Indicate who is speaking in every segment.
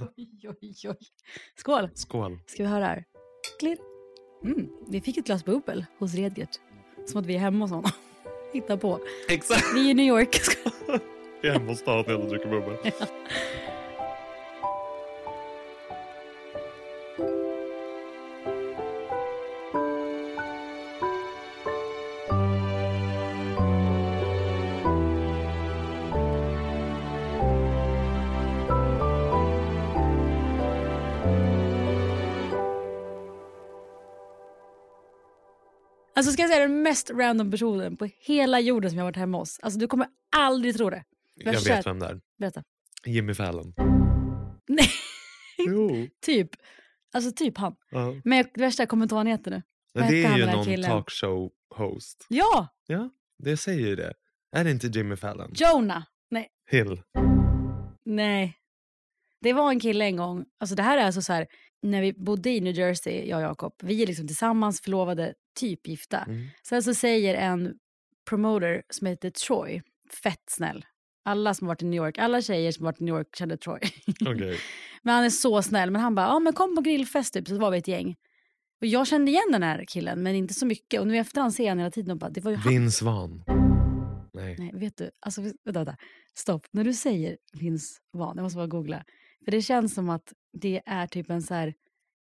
Speaker 1: Oj, oj, oj. Skål!
Speaker 2: Skål.
Speaker 1: Ska vi höra här? Klirr. Mm, vi fick ett glas bubbel hos Redgert. Som att vi är hemma hos honom. Hitta på.
Speaker 2: Exakt.
Speaker 1: Vi är i New York.
Speaker 2: Vi är hemma hos Daniel och dricker bubbel.
Speaker 1: Alltså ska jag säga den mest random personen på hela jorden som jag har varit hemma hos. Alltså du kommer aldrig tro det.
Speaker 2: Jag
Speaker 1: Värsta-
Speaker 2: vet vem det är.
Speaker 1: Berätta.
Speaker 2: Jimmy Fallon.
Speaker 1: Nej,
Speaker 2: Jo.
Speaker 1: typ. Alltså typ han.
Speaker 2: Ja.
Speaker 1: Men jag, det värsta jag kommer inte ihåg vad han heter nu. Vad
Speaker 2: Det
Speaker 1: hette
Speaker 2: är
Speaker 1: han
Speaker 2: ju
Speaker 1: den här
Speaker 2: någon
Speaker 1: killen?
Speaker 2: talkshow-host.
Speaker 1: Ja!
Speaker 2: Ja, det säger ju det. Är det inte Jimmy Fallon?
Speaker 1: Jonah! Nej.
Speaker 2: Hill.
Speaker 1: Nej. Det var en kille en gång. Alltså det här är alltså så här. När vi bodde i New Jersey, jag och Jakob. Vi är liksom tillsammans förlovade, typ gifta.
Speaker 2: Mm.
Speaker 1: Sen så säger en promoter som heter Troy, fett snäll. Alla som har varit i New York, alla tjejer som har varit i New York kände Troy.
Speaker 2: Okej.
Speaker 1: Men han är så snäll. Men han bara, ja men kom på grillfest typ. Så var vi ett gäng. Och jag kände igen den här killen, men inte så mycket. Och nu i efterhand ser jag honom hela tiden och bara, det var ju han.
Speaker 2: Vince Vaughn. Nej.
Speaker 1: Nej, vet du, alltså vänta, vänta. Stopp. När du säger Vince Vaughn, jag måste bara googla. För det känns som att det är typ en så här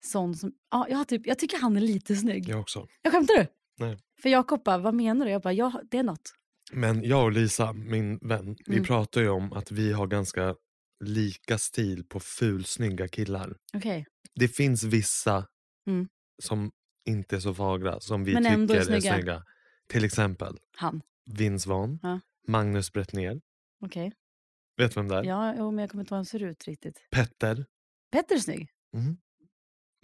Speaker 1: sån som, ja jag, har typ, jag tycker han är lite snygg.
Speaker 2: Jag också.
Speaker 1: Jag skämtar du?
Speaker 2: Nej.
Speaker 1: För Jakob bara, vad menar du? Jag bara, ja det är något.
Speaker 2: Men jag och Lisa, min vän, vi
Speaker 1: Mm.
Speaker 2: pratar ju om att vi har ganska lika stil på fulsnygga killar.
Speaker 1: Okej.
Speaker 2: Det finns vissa
Speaker 1: Mm.
Speaker 2: som inte är så fagra som vi
Speaker 1: Men ändå är
Speaker 2: tycker är
Speaker 1: snygga.
Speaker 2: snygga. Till exempel
Speaker 1: Han.
Speaker 2: Vince Vaughn,
Speaker 1: Ja.
Speaker 2: Magnus Bettner,
Speaker 1: Okej.
Speaker 2: vet du vem det är?
Speaker 1: Ja, jo, men jag kommer inte ihåg hur han ser ut riktigt.
Speaker 2: Petter.
Speaker 1: Petter är snygg.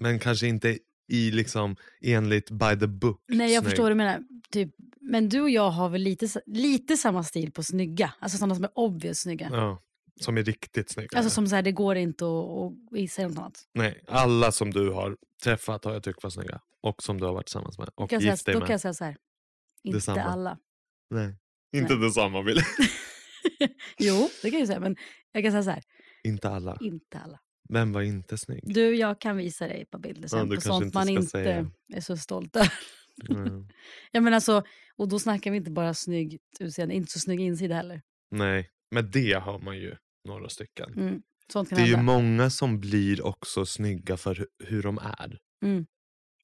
Speaker 2: Men kanske inte i liksom enligt by the book.
Speaker 1: Nej, jag
Speaker 2: snygg.
Speaker 1: förstår vad du menar. Typ, men du och jag har väl lite, sa- lite samma stil på snygga. Alltså sådana som är obvious snygga.
Speaker 2: Ja, som är riktigt snygga.
Speaker 1: Alltså som så här, det går inte att, att säga något annat.
Speaker 2: Nej, alla som du har träffat har jag tyckt var snygga. Och som du har varit tillsammans med. Och
Speaker 1: Kan jag
Speaker 2: gift
Speaker 1: säga,
Speaker 2: dig
Speaker 1: då
Speaker 2: med.
Speaker 1: kan jag säga så här. Inte
Speaker 2: Detsamma.
Speaker 1: alla.
Speaker 2: Nej. Inte detsamma vill
Speaker 1: Jo, det kan jag ju säga. Men jag kan säga så här.
Speaker 2: Inte alla.
Speaker 1: Inte alla.
Speaker 2: Vem var inte snygg?
Speaker 1: Du, jag kan visa dig på bilder sen.
Speaker 2: du
Speaker 1: på
Speaker 2: kanske
Speaker 1: sånt
Speaker 2: inte
Speaker 1: man
Speaker 2: ska
Speaker 1: inte
Speaker 2: säga.
Speaker 1: är så stolt över.
Speaker 2: Mm.
Speaker 1: Ja, men alltså, och då snackar vi inte bara snyggt utseende. Inte så snygg insida heller.
Speaker 2: Nej, men det har man ju några stycken.
Speaker 1: Mm. Sånt kan
Speaker 2: Det är ju
Speaker 1: hända.
Speaker 2: många som blir också snygga för hu- hur de är.
Speaker 1: Mm.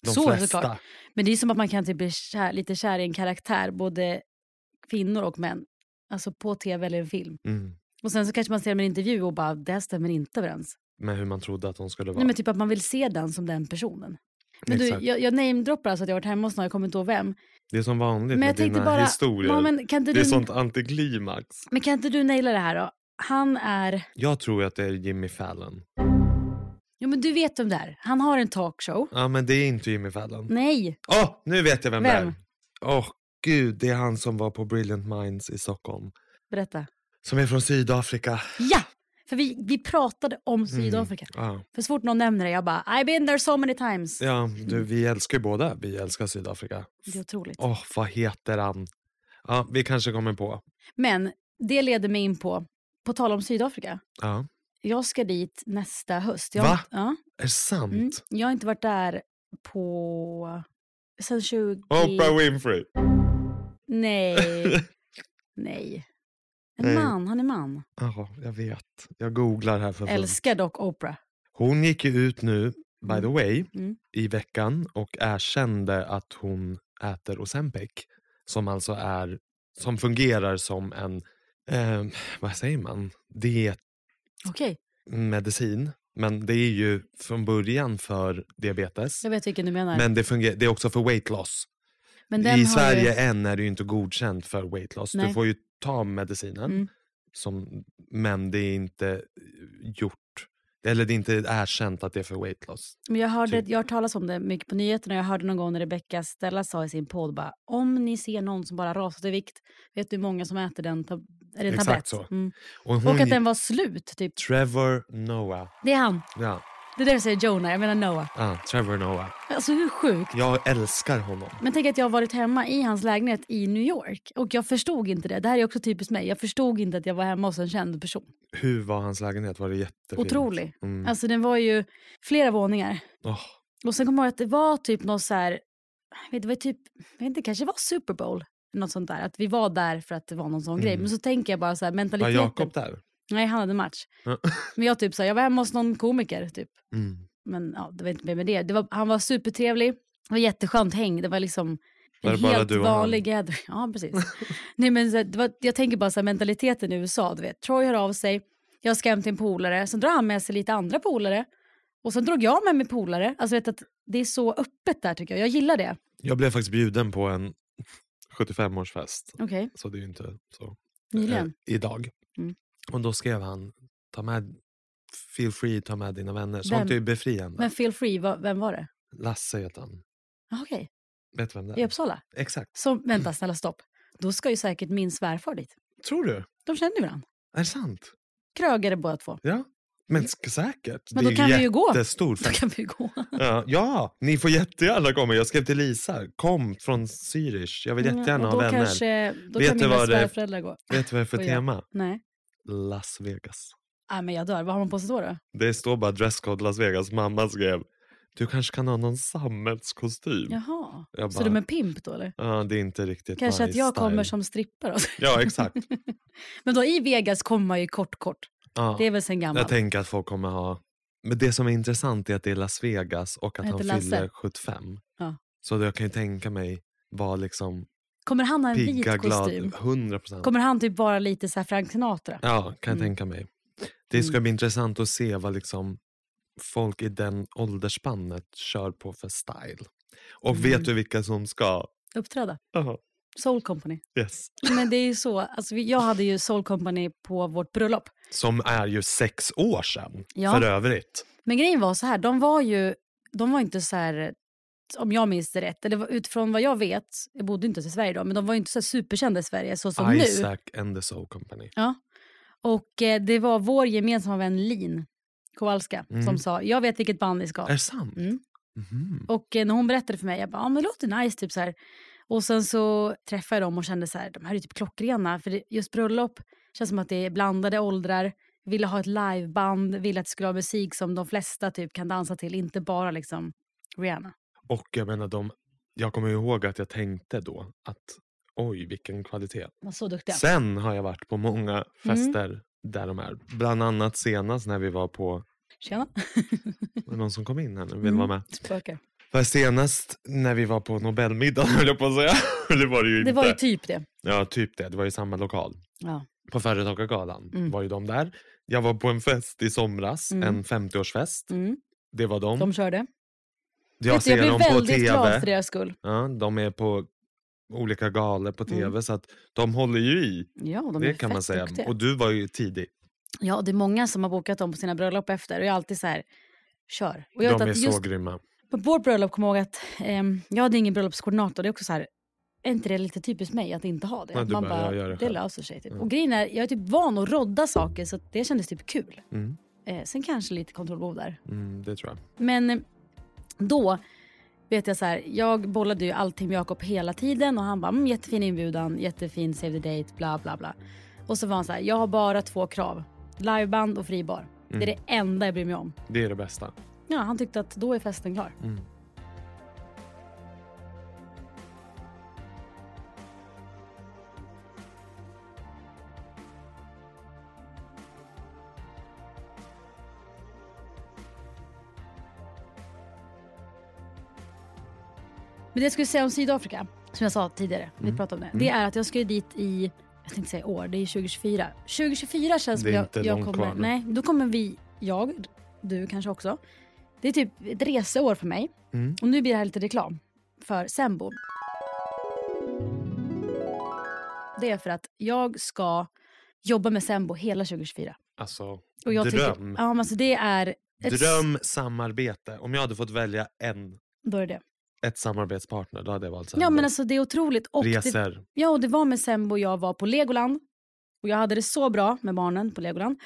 Speaker 2: De
Speaker 1: Så,
Speaker 2: flesta.
Speaker 1: såklart. Men det är som att man kan typ bli kär, lite kär i en karaktär, både kvinnor och män. Alltså på tv eller en film.
Speaker 2: Mm.
Speaker 1: Och sen så kanske man ser dem i en intervju och bara, det här stämmer inte överens.
Speaker 2: Med hur man trodde att de skulle vara.
Speaker 1: Nej, men typ att man vill se den som den personen. Men du,
Speaker 2: Exakt.
Speaker 1: jag, jag namedroppar alltså att jag har varit hemma hos någon, jag kommer inte ihåg vem.
Speaker 2: Det är som vanligt
Speaker 1: Men
Speaker 2: med
Speaker 1: jag tänkte
Speaker 2: dina
Speaker 1: bara,
Speaker 2: historier.
Speaker 1: ja, men, kan inte
Speaker 2: Det är
Speaker 1: du,
Speaker 2: sånt antiklimax.
Speaker 1: men kan inte du naila det här då? Han är,
Speaker 2: Jag tror att det är Jimmy Fallon.
Speaker 1: jo men du vet vem det är. Han har en talkshow.
Speaker 2: Ja, men det är inte Jimmy Fallon.
Speaker 1: Nej,
Speaker 2: Åh, nu vet jag vem, det
Speaker 1: Vem?
Speaker 2: är. Åh, gud, det är han som var på Brilliant Minds i Stockholm.
Speaker 1: berätta.
Speaker 2: Som är från Sydafrika.
Speaker 1: Ja! För vi, vi pratade
Speaker 2: Mm.
Speaker 1: om Sydafrika.
Speaker 2: Ja.
Speaker 1: För så fort någon nämner det, jag bara I've been there so many times.
Speaker 2: ja, du, vi älskar ju båda. Vi älskar Sydafrika.
Speaker 1: Det är otroligt.
Speaker 2: Åh, vad heter han? Ja, vi kanske kommer på.
Speaker 1: Men det leder mig in på, på tal om Sydafrika.
Speaker 2: Ja.
Speaker 1: Jag ska dit nästa höst. Jag,
Speaker 2: Va?
Speaker 1: Ja,
Speaker 2: Är det sant?
Speaker 1: mm, jag har inte varit där på... Sen 20...
Speaker 2: Oprah Winfrey.
Speaker 1: Nej. Nej. En
Speaker 2: Nej.
Speaker 1: man, han är man.
Speaker 2: Ja, jag vet. Jag googlar här för fullt.
Speaker 1: Älskar dock Oprah.
Speaker 2: Hon gick ju ut nu, by the way,
Speaker 1: Mm.
Speaker 2: i veckan och erkände att hon äter Ozempic. Som alltså är, som fungerar som en, eh, vad säger man,
Speaker 1: Okej,
Speaker 2: dietmedicin. Men det är ju från början för diabetes.
Speaker 1: jag vet vilken du menar.
Speaker 2: Men det, fungerar, det är också för weight loss.
Speaker 1: Men
Speaker 2: I
Speaker 1: har
Speaker 2: Sverige
Speaker 1: ju-
Speaker 2: än är det ju inte godkänt för weight loss. Du
Speaker 1: Nej.
Speaker 2: får ju ta medicinen,
Speaker 1: Mm.
Speaker 2: som, men det är inte eh, gjort, eller det är inte erkänt att det är för weight loss.
Speaker 1: Men jag, hörde,
Speaker 2: Typ.
Speaker 1: jag har talas om det mycket på nyheterna. Jag hörde någon gång när Rebecca Stella sa i sin podd bara, om ni ser någon som bara rasat i vikt, vet du hur många som äter den, tab- är det en
Speaker 2: Exakt
Speaker 1: tablett?
Speaker 2: så.
Speaker 1: Mm.
Speaker 2: Och, hon,
Speaker 1: Och att den var slut, typ.
Speaker 2: Trevor Noah.
Speaker 1: Det är han.
Speaker 2: Ja,
Speaker 1: Det är därför jag säger Jonah, jag menar Noah.
Speaker 2: ah, Trevor Noah.
Speaker 1: Alltså hur sjukt?
Speaker 2: Jag älskar honom.
Speaker 1: Men tänk att jag har varit hemma i hans lägenhet i New York och jag förstod inte det. Det här är också typiskt mig. Jag förstod inte att jag var hemma hos en känd person.
Speaker 2: Hur var hans lägenhet? Var det jättefint?
Speaker 1: Otrolig.
Speaker 2: Mm.
Speaker 1: Alltså den var ju flera våningar.
Speaker 2: Åh,
Speaker 1: Och sen kommer jag ihåg att det var typ något så här, jag vet, det var typ, jag vet inte, det kanske var Super Bowl. Något sånt där, att vi var där för att det var någon sån grej. Men så tänker jag bara så här,
Speaker 2: var
Speaker 1: mentaliteten.
Speaker 2: Mm. Jakob där?
Speaker 1: Nej, han hade match.
Speaker 2: Ja.
Speaker 1: Men jag typ så här, jag var hemma hos någon komiker typ.
Speaker 2: Mm.
Speaker 1: Men ja, det var inte mer med det. det var, han var supertrevlig, det var jätteskönt häng. Det var liksom
Speaker 2: Var
Speaker 1: en
Speaker 2: det bara
Speaker 1: helt
Speaker 2: du och han?
Speaker 1: vanlig gathering. Ja, precis. Nej, men så här, det var, jag tänker bara så här, mentaliteten i USA, du vet. Troy hör av sig, jag ska hem till en polare, sen drar han med sig lite andra polare. Och sen drog jag med mig polare. Alltså vet du, att det är så öppet där tycker jag, jag gillar det.
Speaker 2: Jag blev faktiskt bjuden på en 75-årsfest.
Speaker 1: Okej,
Speaker 2: Så det är ju inte så.
Speaker 1: nyligen.
Speaker 2: Eh, idag.
Speaker 1: Mm.
Speaker 2: Och då skrev han, ta med, feel free ta med dina vänner.
Speaker 1: Vem?
Speaker 2: Sånt är ju befriande.
Speaker 1: Men feel free, va, vem var det?
Speaker 2: Lasse heter han.
Speaker 1: Ah, Okej,
Speaker 2: Vet du vem det
Speaker 1: i
Speaker 2: är?
Speaker 1: Uppsala.
Speaker 2: Exakt.
Speaker 1: Så vänta, snälla stopp. Då ska ju säkert min svärfar dit.
Speaker 2: Tror du?
Speaker 1: De känner ju varandra.
Speaker 2: Är det sant?
Speaker 1: Krögare båda två.
Speaker 2: Ja. Men sk- säkert.
Speaker 1: Men
Speaker 2: det
Speaker 1: då
Speaker 2: är
Speaker 1: kan vi ju gå.
Speaker 2: jättestor
Speaker 1: Då
Speaker 2: fest.
Speaker 1: kan vi gå.
Speaker 2: Ja, ja, ni får jättegärna komma. Jag skrev till Lisa, kom från Zürich. Jag vill jättegärna
Speaker 1: Och
Speaker 2: ha
Speaker 1: då
Speaker 2: vänner.
Speaker 1: Kanske, då
Speaker 2: Vet
Speaker 1: kan
Speaker 2: du
Speaker 1: mina
Speaker 2: vad det-
Speaker 1: svärföräldrar gå.
Speaker 2: Vet du vad det är för
Speaker 1: Och jag-
Speaker 2: tema?
Speaker 1: Nej.
Speaker 2: Las Vegas.
Speaker 1: Nej, men jag dör. Vad har man på sig då? då?
Speaker 2: Det står bara dresscode Las Vegas. Mamma skrev, du kanske kan ha någon sammetskostym.
Speaker 1: Jaha.
Speaker 2: Jag
Speaker 1: Så
Speaker 2: bara-
Speaker 1: de är pimp då eller?
Speaker 2: Ja, det är inte riktigt
Speaker 1: Kanske
Speaker 2: my
Speaker 1: att jag
Speaker 2: style.
Speaker 1: kommer som strippa då.
Speaker 2: Ja, exakt.
Speaker 1: Men då i Vegas kommer man ju kort kort.
Speaker 2: Ja.
Speaker 1: Det är väl sen
Speaker 2: Jag
Speaker 1: gammalt.
Speaker 2: tänker att folk kommer ha... Men det som är intressant är att det är Las Vegas och att
Speaker 1: Jag
Speaker 2: han
Speaker 1: heter Lasse.
Speaker 2: fyller 75.
Speaker 1: Ja.
Speaker 2: Så jag kan ju tänka mig vara liksom
Speaker 1: Kommer han ha en vit
Speaker 2: pigga, glad,
Speaker 1: kostym?
Speaker 2: 100 procent.
Speaker 1: Kommer han typ vara lite så här Frank Sinatra?
Speaker 2: Ja, kan jag
Speaker 1: Mm.
Speaker 2: tänka mig. Det ska bli intressant att se vad liksom folk i den åldersspannet kör på för style. Och
Speaker 1: Mm.
Speaker 2: vet du vilka som ska...
Speaker 1: Uppträda?
Speaker 2: Jaha,
Speaker 1: Soul Company.
Speaker 2: yes.
Speaker 1: Men det är ju så. Alltså, vi- jag hade ju Soul Company på vårt bröllop.
Speaker 2: Som är ju sex år sedan,
Speaker 1: Ja.
Speaker 2: för övrigt.
Speaker 1: Men grejen var så här, de var ju, de var inte så här, om jag minns det rätt, eller utifrån vad jag vet, jag bodde inte i Sverige då, men de var ju inte så här superkända i Sverige så
Speaker 2: Ah,
Speaker 1: som nu.
Speaker 2: Isaac and the Soul Company.
Speaker 1: Ja. Och eh, det var vår gemensamma vän Lin Kowalska som sa, jag vet vilket band ni ska.
Speaker 2: Mm. Är det sant?
Speaker 1: Mm.
Speaker 2: Mhm.
Speaker 1: Och eh, när hon berättade för mig, jag bara, ja men det låter nice typ så här. Och sen så träffade jag dem och kände så här, de här är ju typ klockrena. För det, just bröllop känns som att det är blandade åldrar. Ville ha ett liveband, ville att det skulle vara musik som de flesta typ kan dansa till, inte bara liksom Rihanna.
Speaker 2: Och jag menar, de, jag kommer ihåg att jag tänkte då att oj vilken kvalitet.
Speaker 1: De var så duktiga.
Speaker 2: Sen har jag varit på
Speaker 1: Mm.
Speaker 2: många fester där de är. Bland annat senast när vi var på,
Speaker 1: Tjena.
Speaker 2: var det någon som kom in här nu vill
Speaker 1: Mm.
Speaker 2: vara med.
Speaker 1: Spöke.
Speaker 2: Var senast när vi var på Nobelmiddagen höll jag på att säga. det var det ju inte.
Speaker 1: Det var ju typ det.
Speaker 2: Ja typ det, det var ju samma lokal.
Speaker 1: Ja.
Speaker 2: På Företagargalan
Speaker 1: Mm.
Speaker 2: var ju de där. Jag var på en fest i somras,
Speaker 1: Mm.
Speaker 2: en 50-årsfest.
Speaker 1: Mm.
Speaker 2: Det var de.
Speaker 1: De körde.
Speaker 2: jag
Speaker 1: Vet du,
Speaker 2: ser
Speaker 1: jag
Speaker 2: dem
Speaker 1: blev
Speaker 2: på
Speaker 1: väldigt
Speaker 2: tv.
Speaker 1: glad för deras skull.
Speaker 2: Ja, de är på olika galor på tv
Speaker 1: Mm.
Speaker 2: så att de håller ju i.
Speaker 1: Ja, de
Speaker 2: det
Speaker 1: är
Speaker 2: kan
Speaker 1: fett
Speaker 2: man säga.
Speaker 1: duktiga.
Speaker 2: Och du var ju tidig.
Speaker 1: Ja, det är många som har bokat dem på sina bröllop efter och jag är alltid så här, kör. Och jag
Speaker 2: De
Speaker 1: vet
Speaker 2: är
Speaker 1: att
Speaker 2: så
Speaker 1: just
Speaker 2: grymma.
Speaker 1: på vårt bröllop, kom jag ihåg att ehm, jag hade ingen bröllopskoordinator. Det är också så här, är inte det lite typiskt mig att inte ha det?
Speaker 2: Nej, du
Speaker 1: Man
Speaker 2: bara,
Speaker 1: bara,
Speaker 2: jag gör det
Speaker 1: det,
Speaker 2: själv.
Speaker 1: löser sig. Typ.
Speaker 2: Mm.
Speaker 1: Och grejen är, jag är typ van att rodda saker så att det kändes typ kul.
Speaker 2: Mm.
Speaker 1: Eh, sen kanske lite kontrollbehov där.
Speaker 2: Mm, det tror jag.
Speaker 1: Men eh, då vet jag så här, jag bollade ju allting med Jakob hela tiden och han bara mm, jättefin inbjudan, jättefin save the date, bla bla bla. Och så var han så här, jag har bara två krav, liveband och fribar. Det är det enda jag bryr mig om.
Speaker 2: Det är det bästa.
Speaker 1: Ja, han tyckte att då är festen klar.
Speaker 2: Mm.
Speaker 1: Men det jag skulle säga om Sydafrika, som jag sa tidigare,
Speaker 2: Mm.
Speaker 1: vi pratade om det. Det är att jag ska ju dit i, jag tänkte säga år, det är 2024. 2024 känns
Speaker 2: Det är
Speaker 1: som jag,
Speaker 2: inte
Speaker 1: jag
Speaker 2: långt
Speaker 1: kommer,
Speaker 2: kvar nu.
Speaker 1: Nej, då kommer vi, jag, du kanske också. Det är typ ett reseår för mig.
Speaker 2: Mm.
Speaker 1: Och nu blir det här lite reklam för Sembo. Det är för att jag ska jobba med Sembo hela 2024.
Speaker 2: Alltså,
Speaker 1: Och jag
Speaker 2: dröm.
Speaker 1: Tycker, ja, men alltså det är... Ett,
Speaker 2: Dröm samarbete. Om jag hade fått välja en,
Speaker 1: Då är det.
Speaker 2: ett samarbetspartner, då hade jag valt
Speaker 1: Ja,
Speaker 2: Sandro.
Speaker 1: men alltså det är otroligt. Och det,
Speaker 2: Resor.
Speaker 1: Ja, och det var med Sembo jag var på Legoland. Och jag hade det så bra med barnen på Legoland.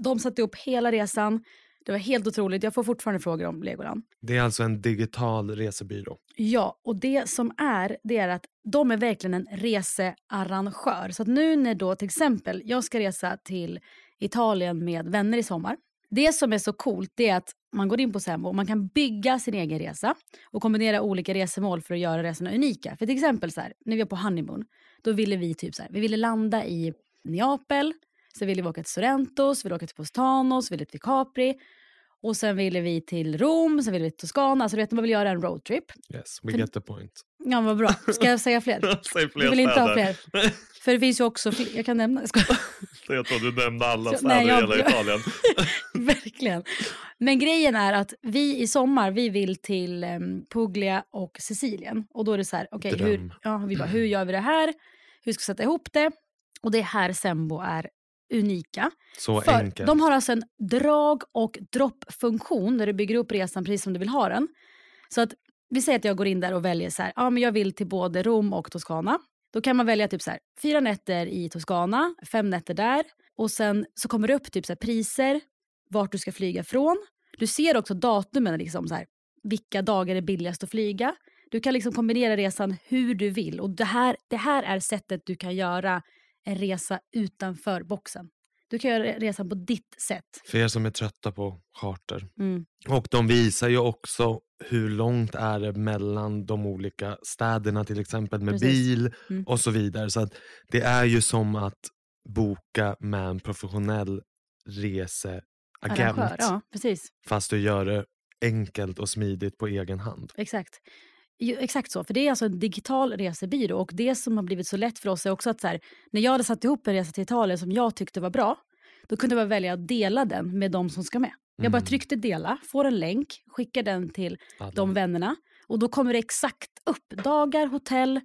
Speaker 1: De satte upp hela resan. Det var helt otroligt. Jag får fortfarande frågor om Legoland.
Speaker 2: Det är alltså en digital resebyrå.
Speaker 1: Ja, och det som är, det är att de är verkligen en researrangör. Så att nu när då till exempel jag ska resa till Italien med vänner i sommar. Det som är så coolt det är att man går in på Sembo och man kan bygga sin egen resa och kombinera olika resemål för att göra resorna unika. För till exempel så här, när vi var på honeymoon, då ville vi typ så här, vi ville landa i Neapel, sen ville vi åka till Sorrento, så ville vi åka till Postano, så ville vi till Capri och sen ville vi till Rom, sen ville vi till Toscana. Så du vet, man vill göra en roadtrip.
Speaker 2: Yes, we
Speaker 1: För-
Speaker 2: get the point.
Speaker 1: Ja, vad bra. Ska jag säga fler?
Speaker 2: Säg fler
Speaker 1: Jag vill inte ha
Speaker 2: städer.
Speaker 1: För det finns ju också fler. Jag kan nämna. Jag skojar.
Speaker 2: jag tror du nämnde alla
Speaker 1: Så-
Speaker 2: städer
Speaker 1: nej,
Speaker 2: i
Speaker 1: jag-
Speaker 2: hela Italien.
Speaker 1: Verkligen. Men grejen är att vi i sommar, vi vill till em, Puglia och Sicilien. Och då är det så här, okej, hur,
Speaker 2: Dröm. Mm.
Speaker 1: ja, vi bara, hur gör vi det här? Hur ska vi sätta ihop det? Och det är här Sembo är unika.
Speaker 2: Så
Speaker 1: För
Speaker 2: enkelt.
Speaker 1: De har alltså en drag och droppfunktion där du bygger upp resan precis som du vill ha den. Så att vi säger att jag går in där och väljer så här, ja men jag vill till både Rom och Toscana. Då kan man välja typ så här, fyra nätter i Toscana, fem nätter där och sen så kommer det upp typ så här, priser, vart du ska flyga från. Du ser också datumen, liksom så här, vilka dagar är billigast att flyga. Du kan liksom kombinera resan hur du vill och det här, det här är sättet du kan göra en resa utanför boxen. Du kan göra resan på ditt sätt.
Speaker 2: För er som är trötta på charter.
Speaker 1: Mm.
Speaker 2: Och de visar ju också hur långt är det mellan de olika städerna till exempel med
Speaker 1: Precis.
Speaker 2: bil
Speaker 1: Mm.
Speaker 2: och så vidare. Så att det är ju som att boka med en professionell reseagent.
Speaker 1: Arrangör, Ja, precis.
Speaker 2: Fast du gör det enkelt och smidigt på egen hand.
Speaker 1: Exakt. Jo, exakt så, för det är alltså en digital resebyrå och det som har blivit så lätt för oss är också att så här, när jag hade satt ihop en resa till Italien som jag tyckte var bra, då kunde jag bara välja att dela den med de som ska med. Jag bara
Speaker 2: Mm.
Speaker 1: tryckte dela, får en länk, skickar den till
Speaker 2: Alla.
Speaker 1: de vännerna och då kommer det exakt upp dagar, hotell,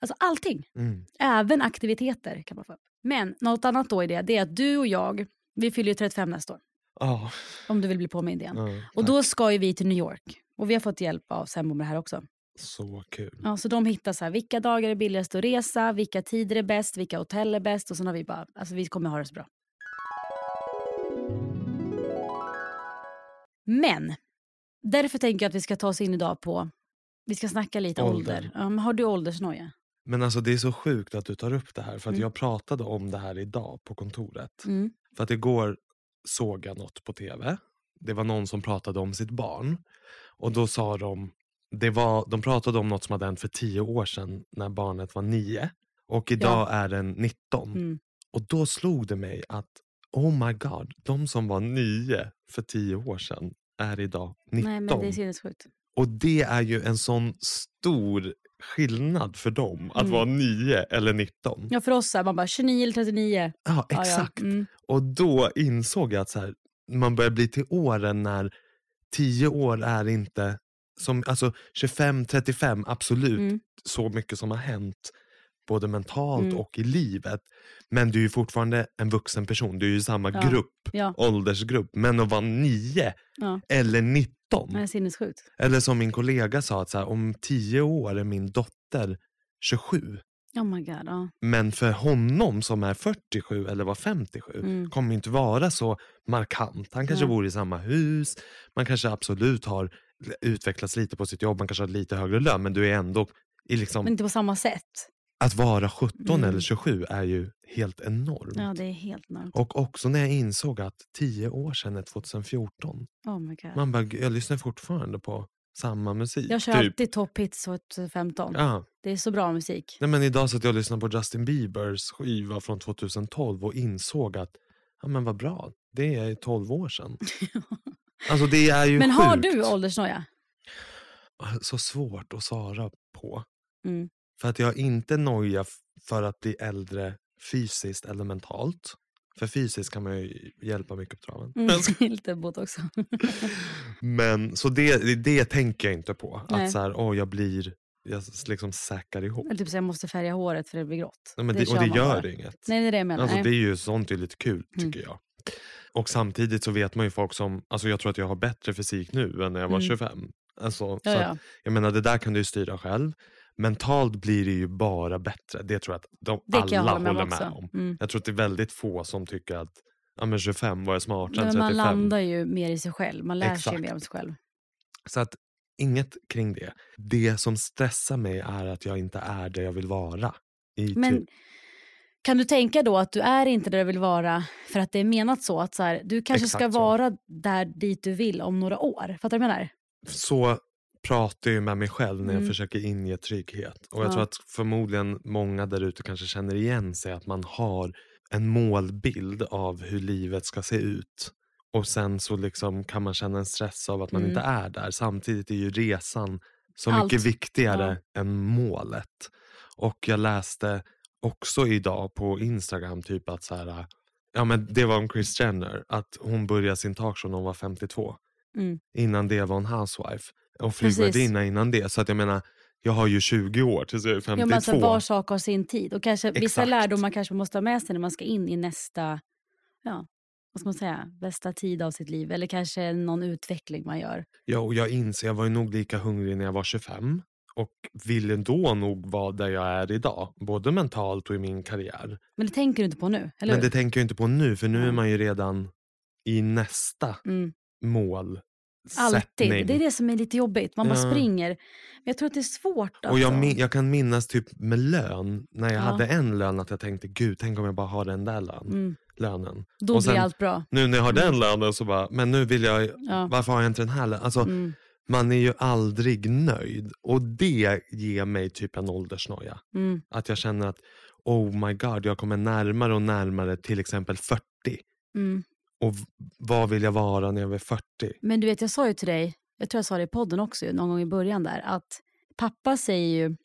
Speaker 1: alltså allting.
Speaker 2: Mm.
Speaker 1: Även aktiviteter kan man få upp. Men något annat då i det, det är att du och jag, vi fyller ju 35 nästa år,
Speaker 2: Ja,
Speaker 1: om du vill bli påmind igen.
Speaker 2: ja,
Speaker 1: Och
Speaker 2: tack.
Speaker 1: då ska ju vi till New York. Och vi har fått hjälp av Sembo med det här också.
Speaker 2: Så kul.
Speaker 1: Ja, så de hittar så här, vilka dagar är billigast att resa, vilka tider är bäst, vilka hotell är bäst. Och sen har vi bara, alltså vi kommer ha det så bra. Men, därför tänker jag att vi ska ta oss in idag på, vi ska snacka lite ålder.
Speaker 2: Ålder.
Speaker 1: Ja, men har du åldersnoja?
Speaker 2: Men alltså det är så sjukt att du tar upp det här för att
Speaker 1: Mm.
Speaker 2: jag pratade om det här idag på kontoret.
Speaker 1: Mm.
Speaker 2: För att igår såg jag något på tv. Det var någon som pratade om sitt barn. Och då sa de, det var, de pratade om något som hade hänt för tio år sedan när barnet var nio. Och idag är den 19.
Speaker 1: Mm.
Speaker 2: Och då slog det mig att oh my god, de som var nio för tio år sedan är idag 19.
Speaker 1: Nej, men det är sinnessjukt.
Speaker 2: Och det är ju en sån stor skillnad för dem att
Speaker 1: Mm.
Speaker 2: vara 9 eller 19. Ja,
Speaker 1: Ja, för oss så här, man bara 29 eller 39. Ja,
Speaker 2: exakt.
Speaker 1: Ja, mm.
Speaker 2: Och då insåg jag att så här, man börjar bli till åren när 10 år är inte som, alltså 25-35 absolut
Speaker 1: Mm.
Speaker 2: så mycket som har hänt både mentalt
Speaker 1: Mm.
Speaker 2: och i livet. Men du är ju fortfarande en vuxen person, du är ju i samma
Speaker 1: Ja.
Speaker 2: grupp,
Speaker 1: ja.
Speaker 2: åldersgrupp. Men att vara 9
Speaker 1: ja.
Speaker 2: eller 19
Speaker 1: Nej, sinnessjukt.
Speaker 2: Eller som min kollega sa, att så här, om tio år är min dotter 27.
Speaker 1: Oh my god. Ja.
Speaker 2: Men för honom som är 47 eller var 57
Speaker 1: Mm.
Speaker 2: kommer ju inte vara så markant. Han kanske
Speaker 1: Nej.
Speaker 2: bor i samma hus. Man kanske absolut har utvecklats lite på sitt jobb. Man kanske har lite högre lön. Men du är ändå i liksom,
Speaker 1: Men inte på samma sätt.
Speaker 2: att vara 17
Speaker 1: Mm.
Speaker 2: eller 27 är ju helt enormt.
Speaker 1: Ja, det är helt enormt.
Speaker 2: Och också när jag insåg att 10 år sedan är 2014.
Speaker 1: Oh my god.
Speaker 2: Man bara, jag lyssnar fortfarande på samma musik.
Speaker 1: jag kör
Speaker 2: typ.
Speaker 1: alltid top hits 2015.
Speaker 2: Ja.
Speaker 1: Det är så bra musik.
Speaker 2: Nej, men idag satt jag och lyssnade på Justin Biebers skiva från 2012 och insåg att ja, men vad bra, det är 12 år sedan. alltså det är ju
Speaker 1: Men har
Speaker 2: sjukt.
Speaker 1: du åldersnoja?
Speaker 2: Så svårt att svara på.
Speaker 1: Mm.
Speaker 2: För att jag har inte noja f- för att bli äldre fysiskt eller mentalt. För fysiskt kan man ju hjälpa mycket på traven.
Speaker 1: Mm. Lite båt också.
Speaker 2: Men så det, det tänker jag inte på.
Speaker 1: Nej.
Speaker 2: Att så här, åh, jag blir, jag s- liksom säkar ihop.
Speaker 1: Eller typ så jag måste färga håret för det blir grått.
Speaker 2: Nej, men det,
Speaker 1: kör
Speaker 2: och det
Speaker 1: man
Speaker 2: gör
Speaker 1: bara.
Speaker 2: inget.
Speaker 1: Nej, det är det jag menar.
Speaker 2: Alltså,
Speaker 1: Nej. Mm.
Speaker 2: det är ju sånt är lite kul tycker jag. Och samtidigt så vet man ju folk som, alltså jag tror att jag har bättre fysik nu än när jag var
Speaker 1: Mm.
Speaker 2: 25. Alltså, så
Speaker 1: ja,
Speaker 2: Att,
Speaker 1: ja.
Speaker 2: jag menar det där kan du ju styra själv. Mentalt blir det ju bara bättre. Det tror jag att de,
Speaker 1: Det kan
Speaker 2: alla
Speaker 1: jag hålla med om
Speaker 2: håller
Speaker 1: också.
Speaker 2: med om.
Speaker 1: Mm.
Speaker 2: Jag tror att det är väldigt få som tycker att ja, men 25 var jag smartare
Speaker 1: Nej,
Speaker 2: än
Speaker 1: men man
Speaker 2: 35.
Speaker 1: landar ju mer i sig själv. Man lär sig
Speaker 2: Exakt. Typ.
Speaker 1: mer om sig själv.
Speaker 2: Så att inget kring det. Det som stressar mig är att jag inte är där jag vill vara. I
Speaker 1: Men
Speaker 2: typ.
Speaker 1: kan du tänka då att du är inte där du vill vara för att det är menat så? Att så här, du kanske ska
Speaker 2: Exakt så.
Speaker 1: vara där dit du vill om några år. Fattar du vad jag menar?
Speaker 2: Så pratar jag ju med mig själv när jag
Speaker 1: Mm.
Speaker 2: försöker inge trygghet. Och jag
Speaker 1: Ja.
Speaker 2: tror att förmodligen många där ute kanske känner igen sig att man har en målbild av hur livet ska se ut. Och sen så liksom kan man känna en stress av att man
Speaker 1: Mm.
Speaker 2: inte är där. Samtidigt är ju resan så
Speaker 1: Allt.
Speaker 2: mycket viktigare än målet. Och jag läste också idag på Instagram typ att så här, ja men det var om Kris Jenner, att hon började sin talkshow när hon var 52.
Speaker 1: Mm.
Speaker 2: Innan det var hon housewife och
Speaker 1: Precis.
Speaker 2: flygvärdinna innan det. Så att jag menar, jag har ju 20 år tills jag Liksom, är 52.
Speaker 1: Ja, men alltså, var sak har sin tid. Och kanske, vissa
Speaker 2: Exakt.
Speaker 1: lärdomar kanske man måste ha med sig när man ska in i nästa, ja, vad ska man säga, bästa tid av sitt liv. Eller kanske någon utveckling man gör.
Speaker 2: ja, och jag inser, jag var ju nog lika hungrig när jag var 25 och ville då nog vara där jag är idag, både mentalt och i min karriär.
Speaker 1: Men det tänker du inte på nu, eller
Speaker 2: Men det
Speaker 1: hur?
Speaker 2: tänker jag inte på nu, för nu är
Speaker 1: Nej.
Speaker 2: man ju redan i nästa
Speaker 1: Mm.
Speaker 2: mål.
Speaker 1: Alltid. Det är det som är lite jobbigt. Man bara
Speaker 2: Ja.
Speaker 1: springer. Men jag tror att det är svårt. Alltså.
Speaker 2: Och jag, min, jag kan minnas typ med lön, när jag
Speaker 1: Ja.
Speaker 2: hade en lön, att jag tänkte gud, tänk om jag bara har den där lön,
Speaker 1: Mm.
Speaker 2: lönen.
Speaker 1: Då
Speaker 2: och
Speaker 1: blir
Speaker 2: sen-
Speaker 1: allt bra.
Speaker 2: Nu när jag har den lönen så bara, men nu vill jag,
Speaker 1: Ja.
Speaker 2: varför har jag inte den här lönen? Alltså,
Speaker 1: Mm.
Speaker 2: Man är ju aldrig nöjd och det ger mig typ en åldersnoja.
Speaker 1: Mm.
Speaker 2: Att jag känner att oh my god, jag kommer närmare och närmare till exempel 40.
Speaker 1: Mm.
Speaker 2: Och v- vad vill jag vara när jag är 40?
Speaker 1: Men du vet, jag sa ju till dig, jag tror jag sa det i podden också någon gång i början där, att pappa säger ju,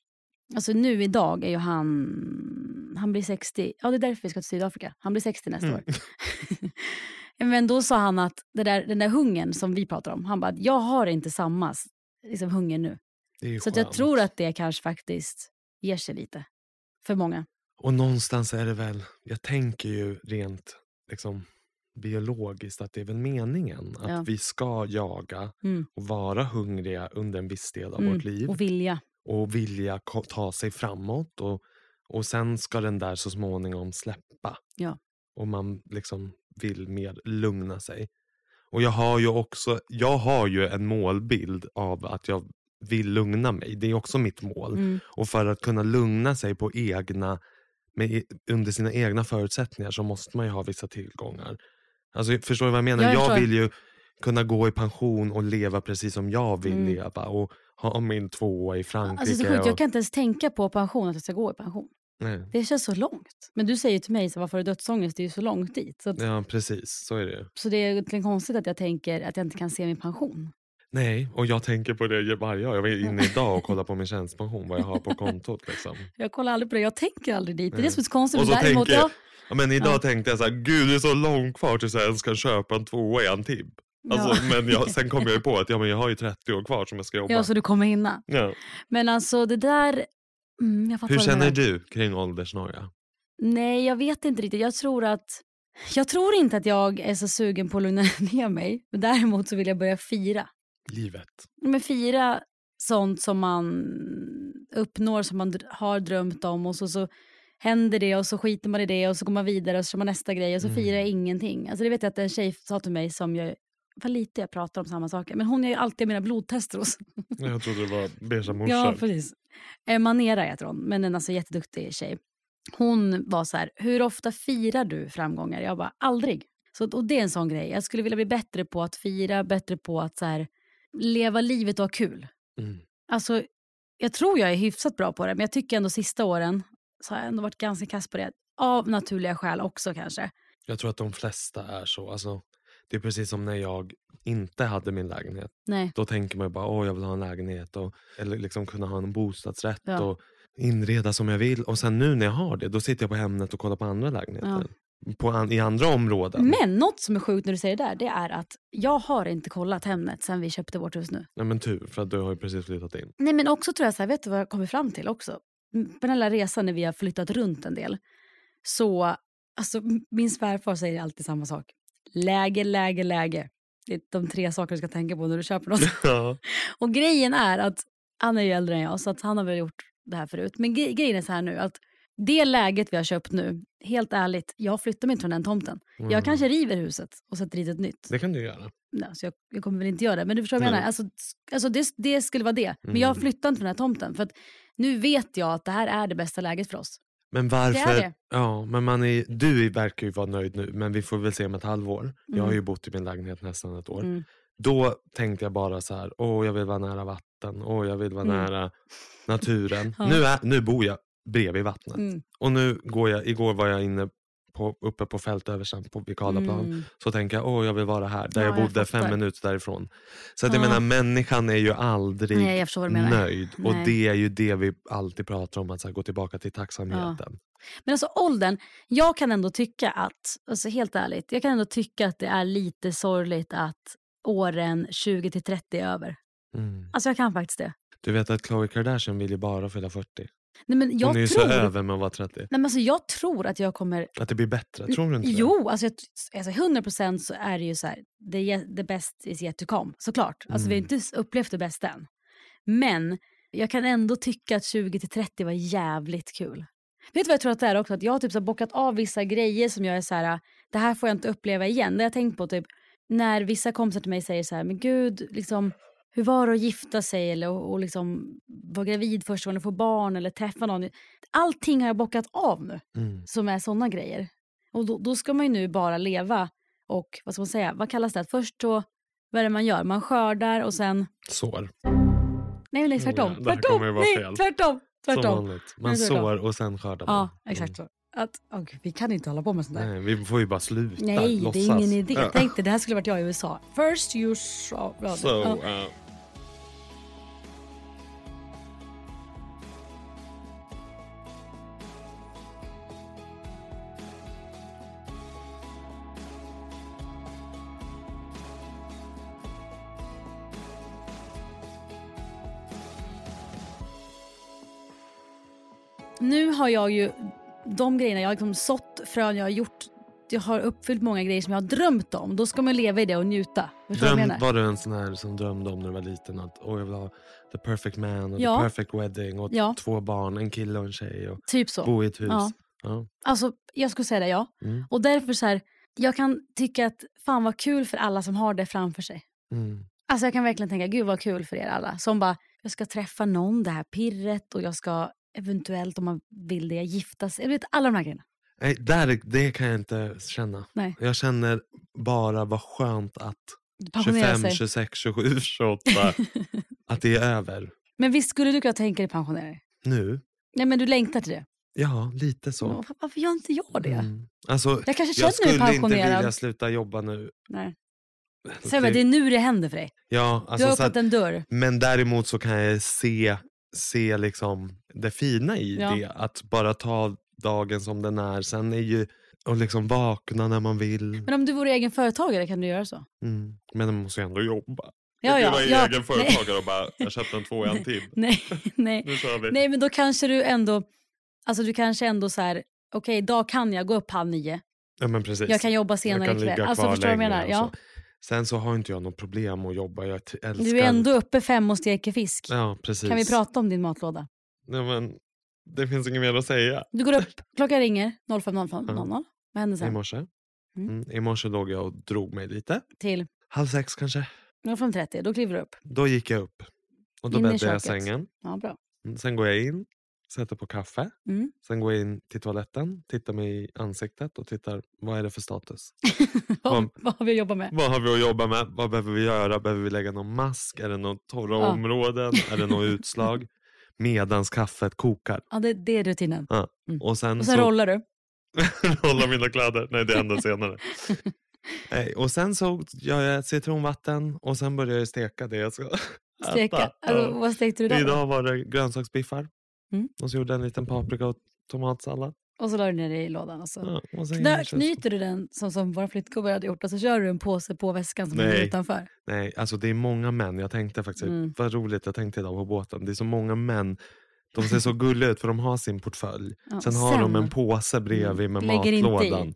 Speaker 1: alltså nu idag är ju han, han blir 60, ja det är därför vi ska till Sydafrika, han blir 60 nästa
Speaker 2: Mm.
Speaker 1: år. Men då sa han att det där, den där hungern som vi pratar om, han bara, jag har inte samma s- liksom, hunger nu.
Speaker 2: Det är ju
Speaker 1: Så att jag
Speaker 2: skönt.
Speaker 1: tror att det kanske faktiskt ger sig lite för många.
Speaker 2: Och någonstans är det väl, jag tänker ju rent liksom, biologiskt att det är väl meningen att
Speaker 1: Ja.
Speaker 2: vi ska jaga
Speaker 1: Mm.
Speaker 2: och vara hungriga under en viss del av
Speaker 1: Mm,
Speaker 2: vårt liv.
Speaker 1: Och vilja.
Speaker 2: och vilja ko- ta sig framåt och, och sen ska den där så småningom släppa.
Speaker 1: Ja.
Speaker 2: Och man liksom vill mer lugna sig. Och jag har ju också, jag har ju en målbild av att jag vill lugna mig. Det är också mitt mål.
Speaker 1: Mm.
Speaker 2: Och för att kunna lugna sig på egna, med, e- under sina egna förutsättningar så måste man ju ha vissa tillgångar. Alltså, förstår du vad jag menar?
Speaker 1: Ja, jag
Speaker 2: jag
Speaker 1: förstår.
Speaker 2: vill ju kunna gå i pension och leva precis som jag vill
Speaker 1: Mm.
Speaker 2: leva och ha min tvåa i Frankrike.
Speaker 1: Alltså så sjukt, jag
Speaker 2: och,
Speaker 1: kan inte ens tänka på pension, att jag ska gå i pension.
Speaker 2: nej.
Speaker 1: Det känns så långt. Men du säger ju till mig, så varför har du dödsångest? Det är ju så långt dit. Så, att,
Speaker 2: Ja, precis. Så är det ju.
Speaker 1: så det är egentligen konstigt att jag tänker att jag inte kan se min pension.
Speaker 2: Nej, och jag tänker på det varje dag. Jag var inne idag och kollade på min tjänstepension, vad jag har på kontot. Liksom.
Speaker 1: Jag kollar aldrig på det, jag tänker aldrig dit. Det är det
Speaker 2: Nej.
Speaker 1: som är så konstigt.
Speaker 2: Och så
Speaker 1: men däremot,
Speaker 2: tänker jag,
Speaker 1: jag-
Speaker 2: ja, men idag tänkte jag så här, gud det är så långt kvar tills jag ens kan köpa en tvåa i Antibes. Alltså,
Speaker 1: ja.
Speaker 2: Men jag, sen kom jag ju på att ja, men jag har ju 30 år kvar som jag ska jobba.
Speaker 1: ja, så du kommer hinna.
Speaker 2: Ja.
Speaker 1: Men alltså det där... Mm, jag fattar
Speaker 2: Hur
Speaker 1: vad
Speaker 2: känner
Speaker 1: menar.
Speaker 2: du kring åldersnoja?
Speaker 1: Nej, jag vet inte riktigt. Jag tror att... Jag tror inte att jag är så sugen på att lugna ner mig. Men däremot så vill jag börja fira.
Speaker 2: Livet.
Speaker 1: Men fira sånt som man uppnår som man dr- har drömt om och så, så händer det och så skiter man i det och så går man vidare och så kör man nästa grej och så firar jag ingenting. Alltså det vet jag att en tjej sa till mig som jag, vad lite jag pratar om samma saker, men hon gör ju alltid mina blodtester hos.
Speaker 2: Jag trodde det var beiga
Speaker 1: Ja,
Speaker 2: morsan.
Speaker 1: precis. Eh, Manera heter hon, men en alltså jätteduktig tjej. Hon var så här, hur ofta firar du framgångar? Jag bara, aldrig. Så, att- och det är en sån grej. Jag skulle vilja bli bättre på att fira, bättre på att så här, leva livet och ha kul.
Speaker 2: Mm.
Speaker 1: Alltså, jag tror jag är hyfsat bra på det, men jag tycker ändå sista åren så har jag ändå varit ganska kass på det. Av naturliga skäl också kanske.
Speaker 2: Jag tror att de flesta är så. Alltså, det är precis som när jag inte hade min lägenhet.
Speaker 1: Nej.
Speaker 2: Då tänker man ju bara åh jag vill ha en lägenhet och, eller liksom kunna ha en bostadsrätt
Speaker 1: Ja.
Speaker 2: och inreda som jag vill. Och sen nu när jag har det, då sitter jag på Hemnet och kollar på andra lägenheter. På an, I andra områden.
Speaker 1: Men något som är sjukt när du säger det där, det är att jag har inte kollat Hemnet sen vi köpte vårt hus nu.
Speaker 2: Nej, men tur, för att du har ju precis flyttat in.
Speaker 1: Nej men också tror jag så här, vet du vad jag kommer fram till också? Mm, På den här resan när vi har flyttat runt en del. Så, alltså m- min svärfar säger alltid samma sak. Läge, läge, läge. Det är de tre saker du ska tänka på när du köper något.
Speaker 2: Ja.
Speaker 1: Och grejen är att han är ju äldre än jag så att han har väl gjort det här förut. Men gre- grejen är så här nu att det läget vi har köpt nu, helt ärligt, jag flyttar mig inte från den tomten.
Speaker 2: Mm.
Speaker 1: Jag kanske river huset och sätter dit ett nytt.
Speaker 2: Det kan du göra.
Speaker 1: Nej, så jag, jag kommer väl inte göra det. Men du förstår vad jag
Speaker 2: Nej. Mm.
Speaker 1: menar. Alltså, s- alltså det, det skulle vara det. Men jag flyttar inte från den här tomten. För att nu vet jag att det här är det bästa läget för oss.
Speaker 2: Men varför?
Speaker 1: det.
Speaker 2: Ja, men man är, du verkar ju vara nöjd nu, men vi får väl se om ett halvår. Jag har ju bott i min lägenhet nästan ett år.
Speaker 1: Mm.
Speaker 2: Då tänkte jag bara så här, åh jag vill vara nära vatten, åh jag vill vara
Speaker 1: Mm.
Speaker 2: nära naturen.
Speaker 1: Ja.
Speaker 2: Nu, är, nu bor jag bredvid vattnet.
Speaker 1: Mm.
Speaker 2: Och nu går jag, igår var jag inne på, uppe på fältöversen på, vid Karlaplan.
Speaker 1: Mm.
Speaker 2: Så tänker jag, åh jag vill vara här, där
Speaker 1: Ja,
Speaker 2: jag
Speaker 1: jag
Speaker 2: bodde fem
Speaker 1: fattar.
Speaker 2: minuter därifrån. Så att jag
Speaker 1: Ja.
Speaker 2: menar, människan är ju aldrig
Speaker 1: Nej, jag förstår vad du menar.
Speaker 2: nöjd. Och
Speaker 1: Nej.
Speaker 2: det är ju det vi alltid pratar om, att så här, gå tillbaka till tacksamheten.
Speaker 1: Men alltså åldern, jag kan ändå tycka att, alltså helt ärligt, jag kan ändå tycka att det är lite sorgligt att åren 20 till 30 är över.
Speaker 2: Mm.
Speaker 1: Alltså jag kan faktiskt det.
Speaker 2: Du vet att Khloe Kardashian vill ju bara fylla 40.
Speaker 1: Nej, men jag
Speaker 2: Hon är ju
Speaker 1: tror,
Speaker 2: så över med att vara 30.
Speaker 1: Nej, men alltså, jag tror att jag kommer
Speaker 2: Att det blir bättre, tror du inte det?
Speaker 1: Jo, alltså, jag, alltså 100% så är det ju så här, the, ye- the best is yet to come, såklart. Alltså vi har
Speaker 2: Mm.
Speaker 1: inte s- upplevt det bästa än. Men jag kan ändå tycka att 20 till 30 var jävligt kul. Vet du vad jag tror att det är också? Att jag har typ så här bockat av vissa grejer som jag är så här, "Ah, det här får jag inte uppleva igen. Det har jag tänkt på typ när vissa kompisar till mig säger så här, men gud, liksom, hur var det att gifta sig eller och, och liksom vara gravid första gången och få barn eller träffa någon. Allting har jag bockat av nu
Speaker 2: Mm.
Speaker 1: som är såna grejer. Och då, då ska man ju nu bara leva och vad ska man säga, vad kallas det? Att Först så, vad är det man gör? Man skördar och sen,
Speaker 2: Sår.
Speaker 1: nej nej tvärtom,
Speaker 2: Oh ja, det här
Speaker 1: tvärtom,
Speaker 2: kommer ju vara
Speaker 1: nej
Speaker 2: fel.
Speaker 1: tvärtom,
Speaker 2: Som
Speaker 1: tvärtom.
Speaker 2: vanligt. Man
Speaker 1: Nej, tvärtom.
Speaker 2: sår och sen skördar man.
Speaker 1: Ja, exakt så. Att, åh gud, vi kan inte hålla på med sånt där.
Speaker 2: Mm. Nej, vi får ju bara sluta
Speaker 1: Nej, det
Speaker 2: låtsas.
Speaker 1: är ingen idé.
Speaker 2: Ja.
Speaker 1: Tänk dig, det här skulle varit jag i USA. First you saw... ja,
Speaker 2: Så,
Speaker 1: ja.
Speaker 2: ja.
Speaker 1: Nu har jag ju de grejerna, jag har liksom sått frön, jag har gjort, jag har uppfyllt många grejer som jag har drömt om. Då ska man leva i det och njuta. Förstår du vad jag
Speaker 2: Dröm,
Speaker 1: menar?
Speaker 2: var du en sån här som drömde om när du var liten att åh jag vill ha the perfect man och
Speaker 1: Ja.
Speaker 2: the perfect wedding och
Speaker 1: Ja.
Speaker 2: två barn, en kille och en tjej och
Speaker 1: Typ så.
Speaker 2: bo i ett hus.
Speaker 1: Ja.
Speaker 2: Ja.
Speaker 1: Alltså, jag skulle säga det, ja.
Speaker 2: Mm.
Speaker 1: Och därför så här, jag kan tycka att fan vad kul för alla som har det framför sig.
Speaker 2: Mm.
Speaker 1: Alltså jag kan verkligen tänka, gud vad kul för er alla. Som bara, jag ska träffa någon, det här pirret och jag ska eventuellt om man vill det, gifta sig. Jag vet, alla de här grejerna.
Speaker 2: Nej, där, det kan jag inte känna.
Speaker 1: Nej.
Speaker 2: Jag känner bara vad skönt att
Speaker 1: Pensionera
Speaker 2: 25,
Speaker 1: sig.
Speaker 2: 26, 27, 28. att det är över.
Speaker 1: Men visst skulle du kunna tänka dig pensionera dig?
Speaker 2: Nu?
Speaker 1: Nej men du längtar till det.
Speaker 2: Ja, lite så.
Speaker 1: Men Varför gör inte jag det?
Speaker 2: Mm. Alltså,
Speaker 1: Jag kanske
Speaker 2: jag
Speaker 1: känner mig
Speaker 2: skulle inte
Speaker 1: pensionerad.
Speaker 2: vilja sluta jobba nu.
Speaker 1: Nej.
Speaker 2: Alltså,
Speaker 1: Säg bara, det är nu det händer för dig.
Speaker 2: ja,
Speaker 1: Du har
Speaker 2: alltså, så
Speaker 1: öppnat
Speaker 2: att,
Speaker 1: en dörr.
Speaker 2: Men däremot så kan jag se, se liksom det fina i
Speaker 1: Ja.
Speaker 2: det. Att bara ta dagen som den är. Sen är ju och liksom vakna när man vill.
Speaker 1: Men om du vore egen företagare kan du göra så.
Speaker 2: Mm. Men man måste ju ändå jobba.
Speaker 1: Ja, ja, ja. Nej.
Speaker 2: och bara, jag köpte en två i en timme.
Speaker 1: Nej, nej.
Speaker 2: Nu kör vi.
Speaker 1: Nej men då kanske du ändå, alltså du kanske ändå så här, okej idag kan jag gå upp halv nio,
Speaker 2: Ja, men precis.
Speaker 1: jag kan jobba senare
Speaker 2: kan
Speaker 1: ikväll.
Speaker 2: ligga
Speaker 1: Alltså
Speaker 2: kvar
Speaker 1: förstår du vad jag menar?
Speaker 2: längre
Speaker 1: Ja.
Speaker 2: och så. Sen så har inte jag något problem att jobba. Jag t- älskar...
Speaker 1: Du är ändå uppe fem och steker fisk.
Speaker 2: Ja, precis.
Speaker 1: Kan vi prata om din matlåda?
Speaker 2: Nej, men, det finns inget mer att säga.
Speaker 1: Du går upp, klockan ringer 05.05.00. Vad händer
Speaker 2: I
Speaker 1: sen?
Speaker 2: morse. Mm. I morse låg jag och drog mig lite.
Speaker 1: Till
Speaker 2: Halv sex kanske.
Speaker 1: 05.30, då kliver du upp.
Speaker 2: Då gick jag upp. Och då
Speaker 1: In i
Speaker 2: bäddade jag
Speaker 1: köket.
Speaker 2: sängen.
Speaker 1: Ja, bra.
Speaker 2: Mm, Sen går jag in, sätter på kaffe.
Speaker 1: Mm.
Speaker 2: Sen går jag in till toaletten, tittar mig i ansiktet och tittar vad är det för status.
Speaker 1: Vad,
Speaker 2: Kom.
Speaker 1: vad har vi att jobba med?
Speaker 2: Vad har vi att jobba med? Vad behöver vi göra? Behöver vi lägga någon mask? Är det några torra
Speaker 1: Ja.
Speaker 2: områden? Är det något utslag? Medans kaffet kokar.
Speaker 1: Ja, det, det är rutinen.
Speaker 2: Och sen,
Speaker 1: Och sen
Speaker 2: Mm, så
Speaker 1: rollar du.
Speaker 2: Rolla mina kläder. Nej, det händer senare. Nej, och sen så gör jag citronvatten och sen börjar jag steka det jag ska
Speaker 1: Steka.
Speaker 2: äta.
Speaker 1: Alltså,
Speaker 2: Ja.
Speaker 1: vad stekte du då?
Speaker 2: Idag var det grönsaksbiffar.
Speaker 1: Mm.
Speaker 2: Och så gjorde jag en liten paprika och tomatsallad.
Speaker 1: Och så la du ner det i lådan. Och så.
Speaker 2: Ja, och sen in i
Speaker 1: Knö,
Speaker 2: kylskåpet.
Speaker 1: knyter du den som, som vår flyttgubbe hade gjort och så kör du en påse på väskan som ligger
Speaker 2: Nej.
Speaker 1: utanför.
Speaker 2: Nej, alltså det är många män. Jag tänkte faktiskt,
Speaker 1: Mm.
Speaker 2: vad roligt jag tänkte idag på båten. Det är så många män. De ser så gulliga ut för de har sin portfölj.
Speaker 1: Ja, Mm.
Speaker 2: Sen har de en påse bredvid med
Speaker 1: Lägger inte i.
Speaker 2: matlådan.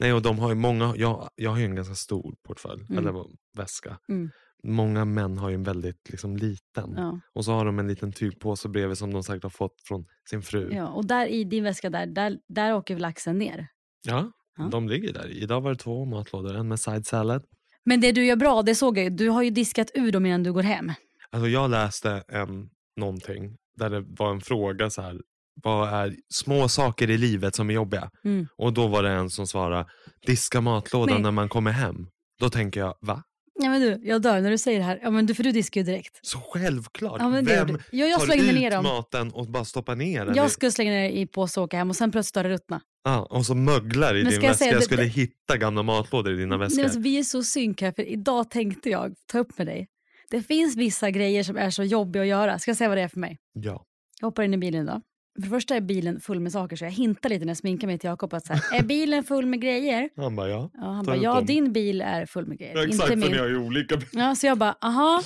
Speaker 2: Nej, och de har ju många, jag, jag har ju en ganska stor portfölj,
Speaker 1: Mm.
Speaker 2: eller vad- väska.
Speaker 1: Mm.
Speaker 2: Många män har ju en väldigt liksom, liten.
Speaker 1: Ja,
Speaker 2: Och så har de en liten tygpåse bredvid som de säkert har fått från sin fru.
Speaker 1: ja. Och där i din väska där, där, där åker laxen ner.
Speaker 2: Ja,
Speaker 1: Ja.
Speaker 2: de ligger där. Idag var det två matlådor, en med side salad.
Speaker 1: Men det du gör bra, det såg jag ju. Du har ju diskat ur dem innan du går hem.
Speaker 2: Alltså jag läste en, någonting där det var en fråga så här. Vad är små saker i livet som är jobbiga?
Speaker 1: Mm.
Speaker 2: Och då var det en som svarade diska matlådan
Speaker 1: Nej.
Speaker 2: när man kommer hem. Då tänker jag, va?
Speaker 1: Ja, men du, jag dör när du säger det här. Ja, men du, för du diskar ju direkt.
Speaker 2: Så självklart.
Speaker 1: Ja, men det
Speaker 2: Vem
Speaker 1: gjorde- Ja, jag
Speaker 2: tar
Speaker 1: slängde
Speaker 2: ut
Speaker 1: ner dem.
Speaker 2: maten och bara stoppar ner den? i-
Speaker 1: Jag skulle slänga ner det i påse och åka hem och sen plötsligt har det ruttnat.
Speaker 2: Ja, och så möglar i
Speaker 1: Men
Speaker 2: din
Speaker 1: ska jag
Speaker 2: väska.
Speaker 1: säga
Speaker 2: jag
Speaker 1: det-
Speaker 2: skulle
Speaker 1: det-
Speaker 2: hitta gamla matlådor i dina väskor.
Speaker 1: Nej, men alltså, vi är så synk här, för idag tänkte jag ta upp med dig. Det finns vissa grejer som är så jobbiga att göra. Ska jag säga vad det är för mig?
Speaker 2: Ja.
Speaker 1: Jag hoppar in i bilen idag. För det första är bilen full med saker, så jag hintar lite när jag sminkar mig till Jakob. Att så här, är bilen full med grejer?
Speaker 2: Han bara, ja.
Speaker 1: Ja, han
Speaker 2: Ta
Speaker 1: bara,
Speaker 2: ut
Speaker 1: ja
Speaker 2: dem.
Speaker 1: din bil är full med grejer,
Speaker 2: Exakt,
Speaker 1: inte
Speaker 2: för ni
Speaker 1: min.
Speaker 2: har ju olika.
Speaker 1: Ja, så jag bara, aha.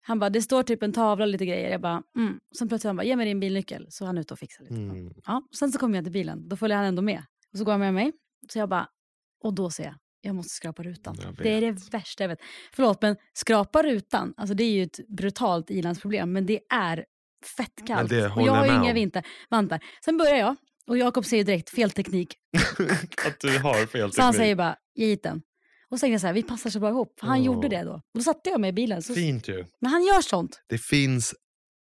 Speaker 1: Han bara, det står typ en tavla och lite grejer. Jag bara, mm. Sen plötsligt han bara, ge mig din bilnyckel. Så han är ute och fixar lite.
Speaker 2: Mm.
Speaker 1: Ja, sen så kommer jag till bilen. Då följer han ändå med. Och så går han med mig. Så jag bara, och då ser jag, jag måste skrapa rutan.
Speaker 2: Jag vet.
Speaker 1: Det är det värsta jag vet. Förlåt, men skrapa rutan, alltså det är ju ett brutalt ilandsproblem, men det är fett kallt.
Speaker 2: det
Speaker 1: och
Speaker 2: håller
Speaker 1: jag har
Speaker 2: jag
Speaker 1: ju
Speaker 2: med
Speaker 1: inga
Speaker 2: om.
Speaker 1: vinter, vantar. Sen börjar jag, och Jakob säger direkt fel teknik.
Speaker 2: Att du har fel
Speaker 1: Så han
Speaker 2: teknik.
Speaker 1: säger bara, ge hit den. Och så tänkte jag så här, vi passar så bra ihop. För han
Speaker 2: Ja.
Speaker 1: gjorde det då. Och då satte jag mig i bilen. Så,
Speaker 2: Fint ju.
Speaker 1: men han gör sånt.
Speaker 2: Det finns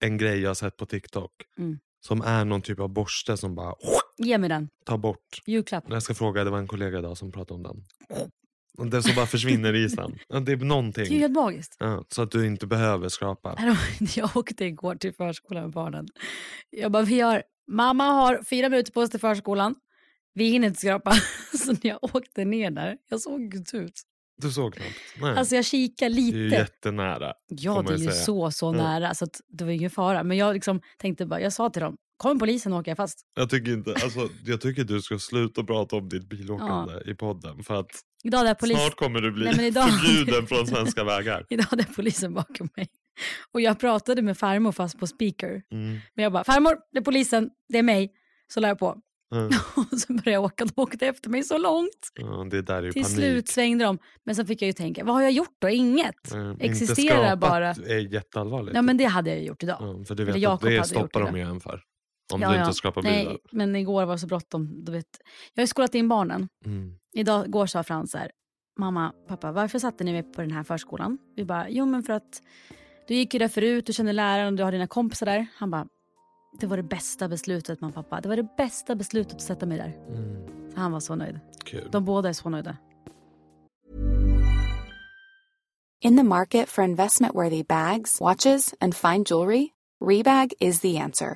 Speaker 2: en grej jag har sett på TikTok
Speaker 1: Mm.
Speaker 2: som är någon typ av borste som bara
Speaker 1: Ge mig den,
Speaker 2: tar bort.
Speaker 1: julklapp.
Speaker 2: Jag ska fråga, det var en kollega idag som pratade om den. Och Det som bara försvinner i isen. Ja, Det är
Speaker 1: Det är ju
Speaker 2: någonting.
Speaker 1: helt magiskt.
Speaker 2: Ja, så att du inte behöver skrapa.
Speaker 1: Härom- Jag åkte igår till förskolan med barnen. Jag bara, vi har, mamma har fyra minuter på oss till förskolan. Vi hinner inte skrapa. Så när jag åkte ner där, jag såg inte ut.
Speaker 2: Du såg knappt. Nej.
Speaker 1: Alltså jag kikade
Speaker 2: det
Speaker 1: lite.
Speaker 2: är ju jättenära.
Speaker 1: ja,
Speaker 2: får
Speaker 1: det
Speaker 2: man
Speaker 1: är
Speaker 2: ju
Speaker 1: ju
Speaker 2: säga.
Speaker 1: så, så
Speaker 2: Ja.
Speaker 1: nära. Så att det var ingen fara. Men jag liksom tänkte bara, jag sa till dem, kom polisen och åker jag fast.
Speaker 2: Jag tycker, inte, alltså, jag tycker du ska sluta prata om ditt bilåkande i podden. För att
Speaker 1: Idag hade jag polis...
Speaker 2: snart kommer du bli
Speaker 1: Nej, men idag-
Speaker 2: förbjuden från svenska vägar.
Speaker 1: Idag hade jag polisen bakom mig. Och jag pratade med farmor fast på speaker.
Speaker 2: Mm.
Speaker 1: Men jag bara, farmor, det är polisen, det är mig. Så la jag på.
Speaker 2: Ja,
Speaker 1: Och så började jag åka, de åkte efter mig så långt.
Speaker 2: ja, det där är ju
Speaker 1: Till
Speaker 2: panik.
Speaker 1: slut svängde de. Men sen fick jag ju tänka, vad har jag gjort då? Inget.
Speaker 2: Eh, inte
Speaker 1: Existerar
Speaker 2: skapat
Speaker 1: bara.
Speaker 2: är jätteallvarligt.
Speaker 1: Ja men det hade jag ju gjort idag.
Speaker 2: Ja, för du
Speaker 1: Eller
Speaker 2: vet att
Speaker 1: Jakob
Speaker 2: det
Speaker 1: hade gjort
Speaker 2: stoppar
Speaker 1: det.
Speaker 2: de ju en för. Om
Speaker 1: ja,
Speaker 2: du
Speaker 1: ja.
Speaker 2: inte skrapar bilen.
Speaker 1: Nej, men igår var det så bråttom. Du vet. Jag har ju skolat in barnen.
Speaker 2: Mm.
Speaker 1: Idag, igår sa Frans så här, mamma, pappa, varför satte ni mig på den här förskolan? Vi bara, jo men för att du gick ju där förut, du känner läraren och du har dina kompisar där. Han bara, det var det bästa beslutet mamma pappa. Det var det bästa beslutet att sätta mig där.
Speaker 2: Mm.
Speaker 1: Så han var så nöjd.
Speaker 2: Kul.
Speaker 1: De båda är så nöjda.
Speaker 3: In the market for investment-worthy bags, watches, and fine jewelry, Rebag is the answer.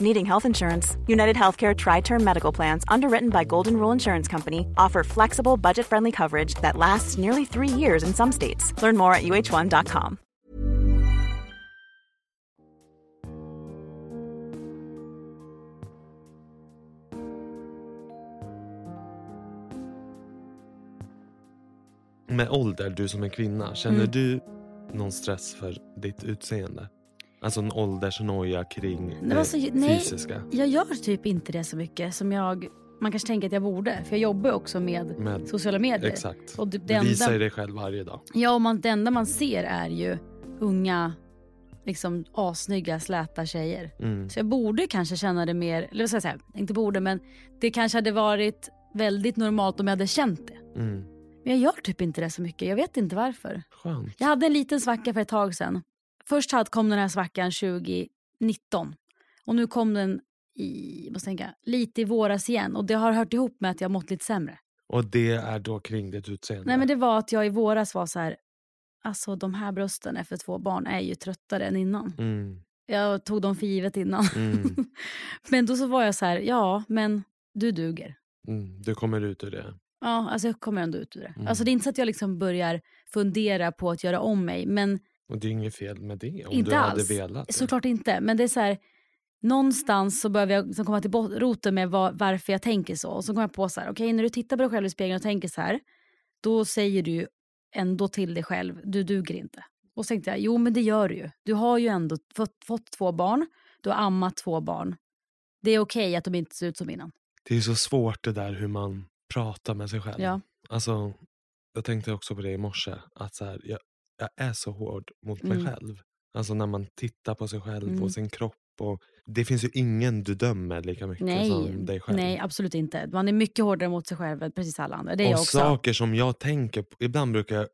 Speaker 4: Needing health insurance. United Healthcare Tri Term Medical Plans, underwritten by Golden Rule Insurance Company, offer flexible, budget friendly coverage that lasts nearly three years in some states. Learn more at uh1.com.
Speaker 2: med ålder, du som är kvinna, känner
Speaker 1: Mm.
Speaker 2: du någon stress för ditt utseende? Alltså en åldersnoja kring
Speaker 1: men
Speaker 2: det
Speaker 1: alltså, nej.
Speaker 2: fysiska?
Speaker 1: Jag gör typ inte det så mycket som jag... Man kanske tänker att jag borde, för jag jobbar ju också med
Speaker 2: Med,
Speaker 1: sociala medier.
Speaker 2: exakt.
Speaker 1: Och det, det
Speaker 2: Du visar ju
Speaker 1: enda,
Speaker 2: dig själv varje dag.
Speaker 1: ja, och man, det enda man ser är ju unga, liksom assnygga, släta tjejer.
Speaker 2: Mm.
Speaker 1: Så jag borde kanske känna det mer, eller vad ska jag säga, inte borde men det kanske hade varit väldigt normalt om jag hade känt det.
Speaker 2: Mm.
Speaker 1: Men jag gör typ inte det så mycket, jag vet inte varför.
Speaker 2: Skönt.
Speaker 1: Jag hade en liten svacka för ett tag sedan. Först hade- kom den här svackan 2019 och nu kom den i, måste tänka, lite i våras igen och det har hört ihop med att jag har mått lite sämre.
Speaker 2: Och det är då kring ditt utseende?
Speaker 1: Nej men det var att jag i våras var så här, alltså de här brösten efter två barn är ju tröttare än innan.
Speaker 2: Mm.
Speaker 1: Jag tog dem för givet innan.
Speaker 2: Mm.
Speaker 1: Men då så var jag så här, ja men du duger.
Speaker 2: Mm. Du kommer ut ur det.
Speaker 1: Ja, alltså jag kommer ändå ut ur det.
Speaker 2: Mm.
Speaker 1: Alltså det är inte så att jag liksom börjar fundera på att göra om mig, men
Speaker 2: Och det är inget fel med det om
Speaker 1: Inte
Speaker 2: du hade
Speaker 1: alls.
Speaker 2: velat det.
Speaker 1: såklart inte. Men det är så här, någonstans så behöver jag liksom komma till bot- roten med vad, varför jag tänker så. Och så kommer jag på så här, okej när du tittar på dig själv i spegeln och tänker så här, då säger du ju ändå till dig själv, du duger inte. Och så tänkte jag, jo men det gör du ju. Du har ju ändå fått, fått två barn, du har ammat två barn. Det är okej att de inte ser ut som innan.
Speaker 2: Det är så svårt det där hur man pratar med sig själv.
Speaker 1: Ja.
Speaker 2: Alltså, jag tänkte också på det i morse. Att så här, jag, jag är så hård mot mig
Speaker 1: Mm.
Speaker 2: själv. Alltså när man tittar på sig själv
Speaker 1: Mm.
Speaker 2: och sin kropp. Och, det finns ju ingen du dömer lika mycket som dig
Speaker 1: Nej,
Speaker 2: själv.
Speaker 1: nej, absolut inte. Man är mycket hårdare mot sig själv än precis alla andra. Det är
Speaker 2: och
Speaker 1: jag också.
Speaker 2: saker som jag tänker på. Ibland brukar jag,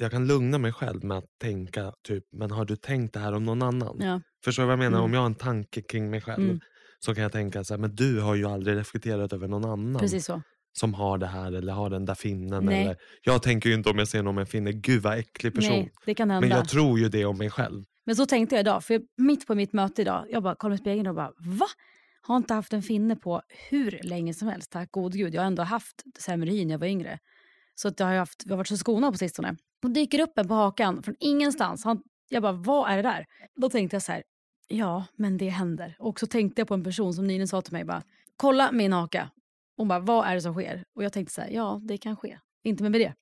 Speaker 2: jag kan lugna mig själv med att tänka typ, men har du tänkt det här om någon annan?
Speaker 1: Ja.
Speaker 2: Förstår du vad jag menar?
Speaker 1: Mm.
Speaker 2: Om jag har en tanke kring mig själv
Speaker 1: Mm.
Speaker 2: så kan jag tänka så här, men du har ju aldrig reflekterat över någon annan
Speaker 1: Precis så.
Speaker 2: som har det här eller har den där finnen.
Speaker 1: Nej.
Speaker 2: Eller, jag tänker ju inte om jag ser någon med en finne, gud vad äcklig person.
Speaker 1: Nej, det kan hända.
Speaker 2: men
Speaker 1: Men,
Speaker 2: jag tror ju det om mig själv.
Speaker 1: så tänkte jag idag, för jag- mitt på mitt möte idag, jag bara kollade i spegeln och bara va? Har inte haft en finne på hur länge som helst, tack god gud. Jag har ändå haft sämre hy när jag var yngre. Så att jag har, ju haft, jag har varit så skonad på sistone. Och dyker upp en på hakan från ingenstans. Han, jag bara, vad är det där? Då tänkte jag så här, ja, men det händer. Och så tänkte jag på en person som nyligen sa till mig, bara, kolla min haka. Hon bara, vad är det som sker? Och jag tänkte så här, ja, det kan ske. Inte med det.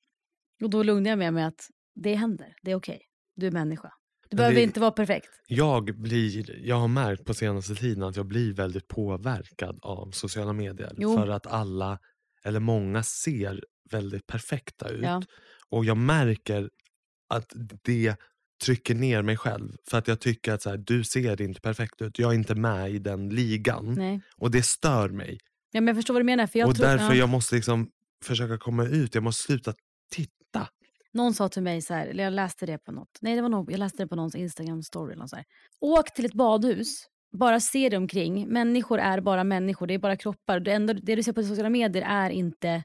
Speaker 1: Och då lugnade jag mig med att det händer, det är okej. Du är människa. Du
Speaker 2: Men
Speaker 1: behöver
Speaker 2: det-
Speaker 1: inte vara perfekt.
Speaker 2: Jag, blir, jag har märkt på senaste tiden att jag blir väldigt påverkad av sociala medier.
Speaker 1: Jo.
Speaker 2: För att alla, eller många, ser väldigt perfekta ut.
Speaker 1: Ja.
Speaker 2: Och jag märker att det trycker ner mig själv. För att jag tycker att så här, du ser inte perfekt ut. Jag är inte med i den ligan.
Speaker 1: Nej.
Speaker 2: Och det stör mig.
Speaker 1: Ja, men jag förstår vad du menar. För jag
Speaker 2: och
Speaker 1: tror,
Speaker 2: därför
Speaker 1: ja.
Speaker 2: jag måste liksom försöka komma ut. Jag måste sluta titta.
Speaker 1: Någon sa till mig så här, eller jag läste det på något. Nej, det var nog, jag läste det på någons Instagram story eller något så här. Åk till ett badhus, bara se dig omkring. Människor är bara människor, det är bara kroppar. Det, enda, det du ser på sociala medier är inte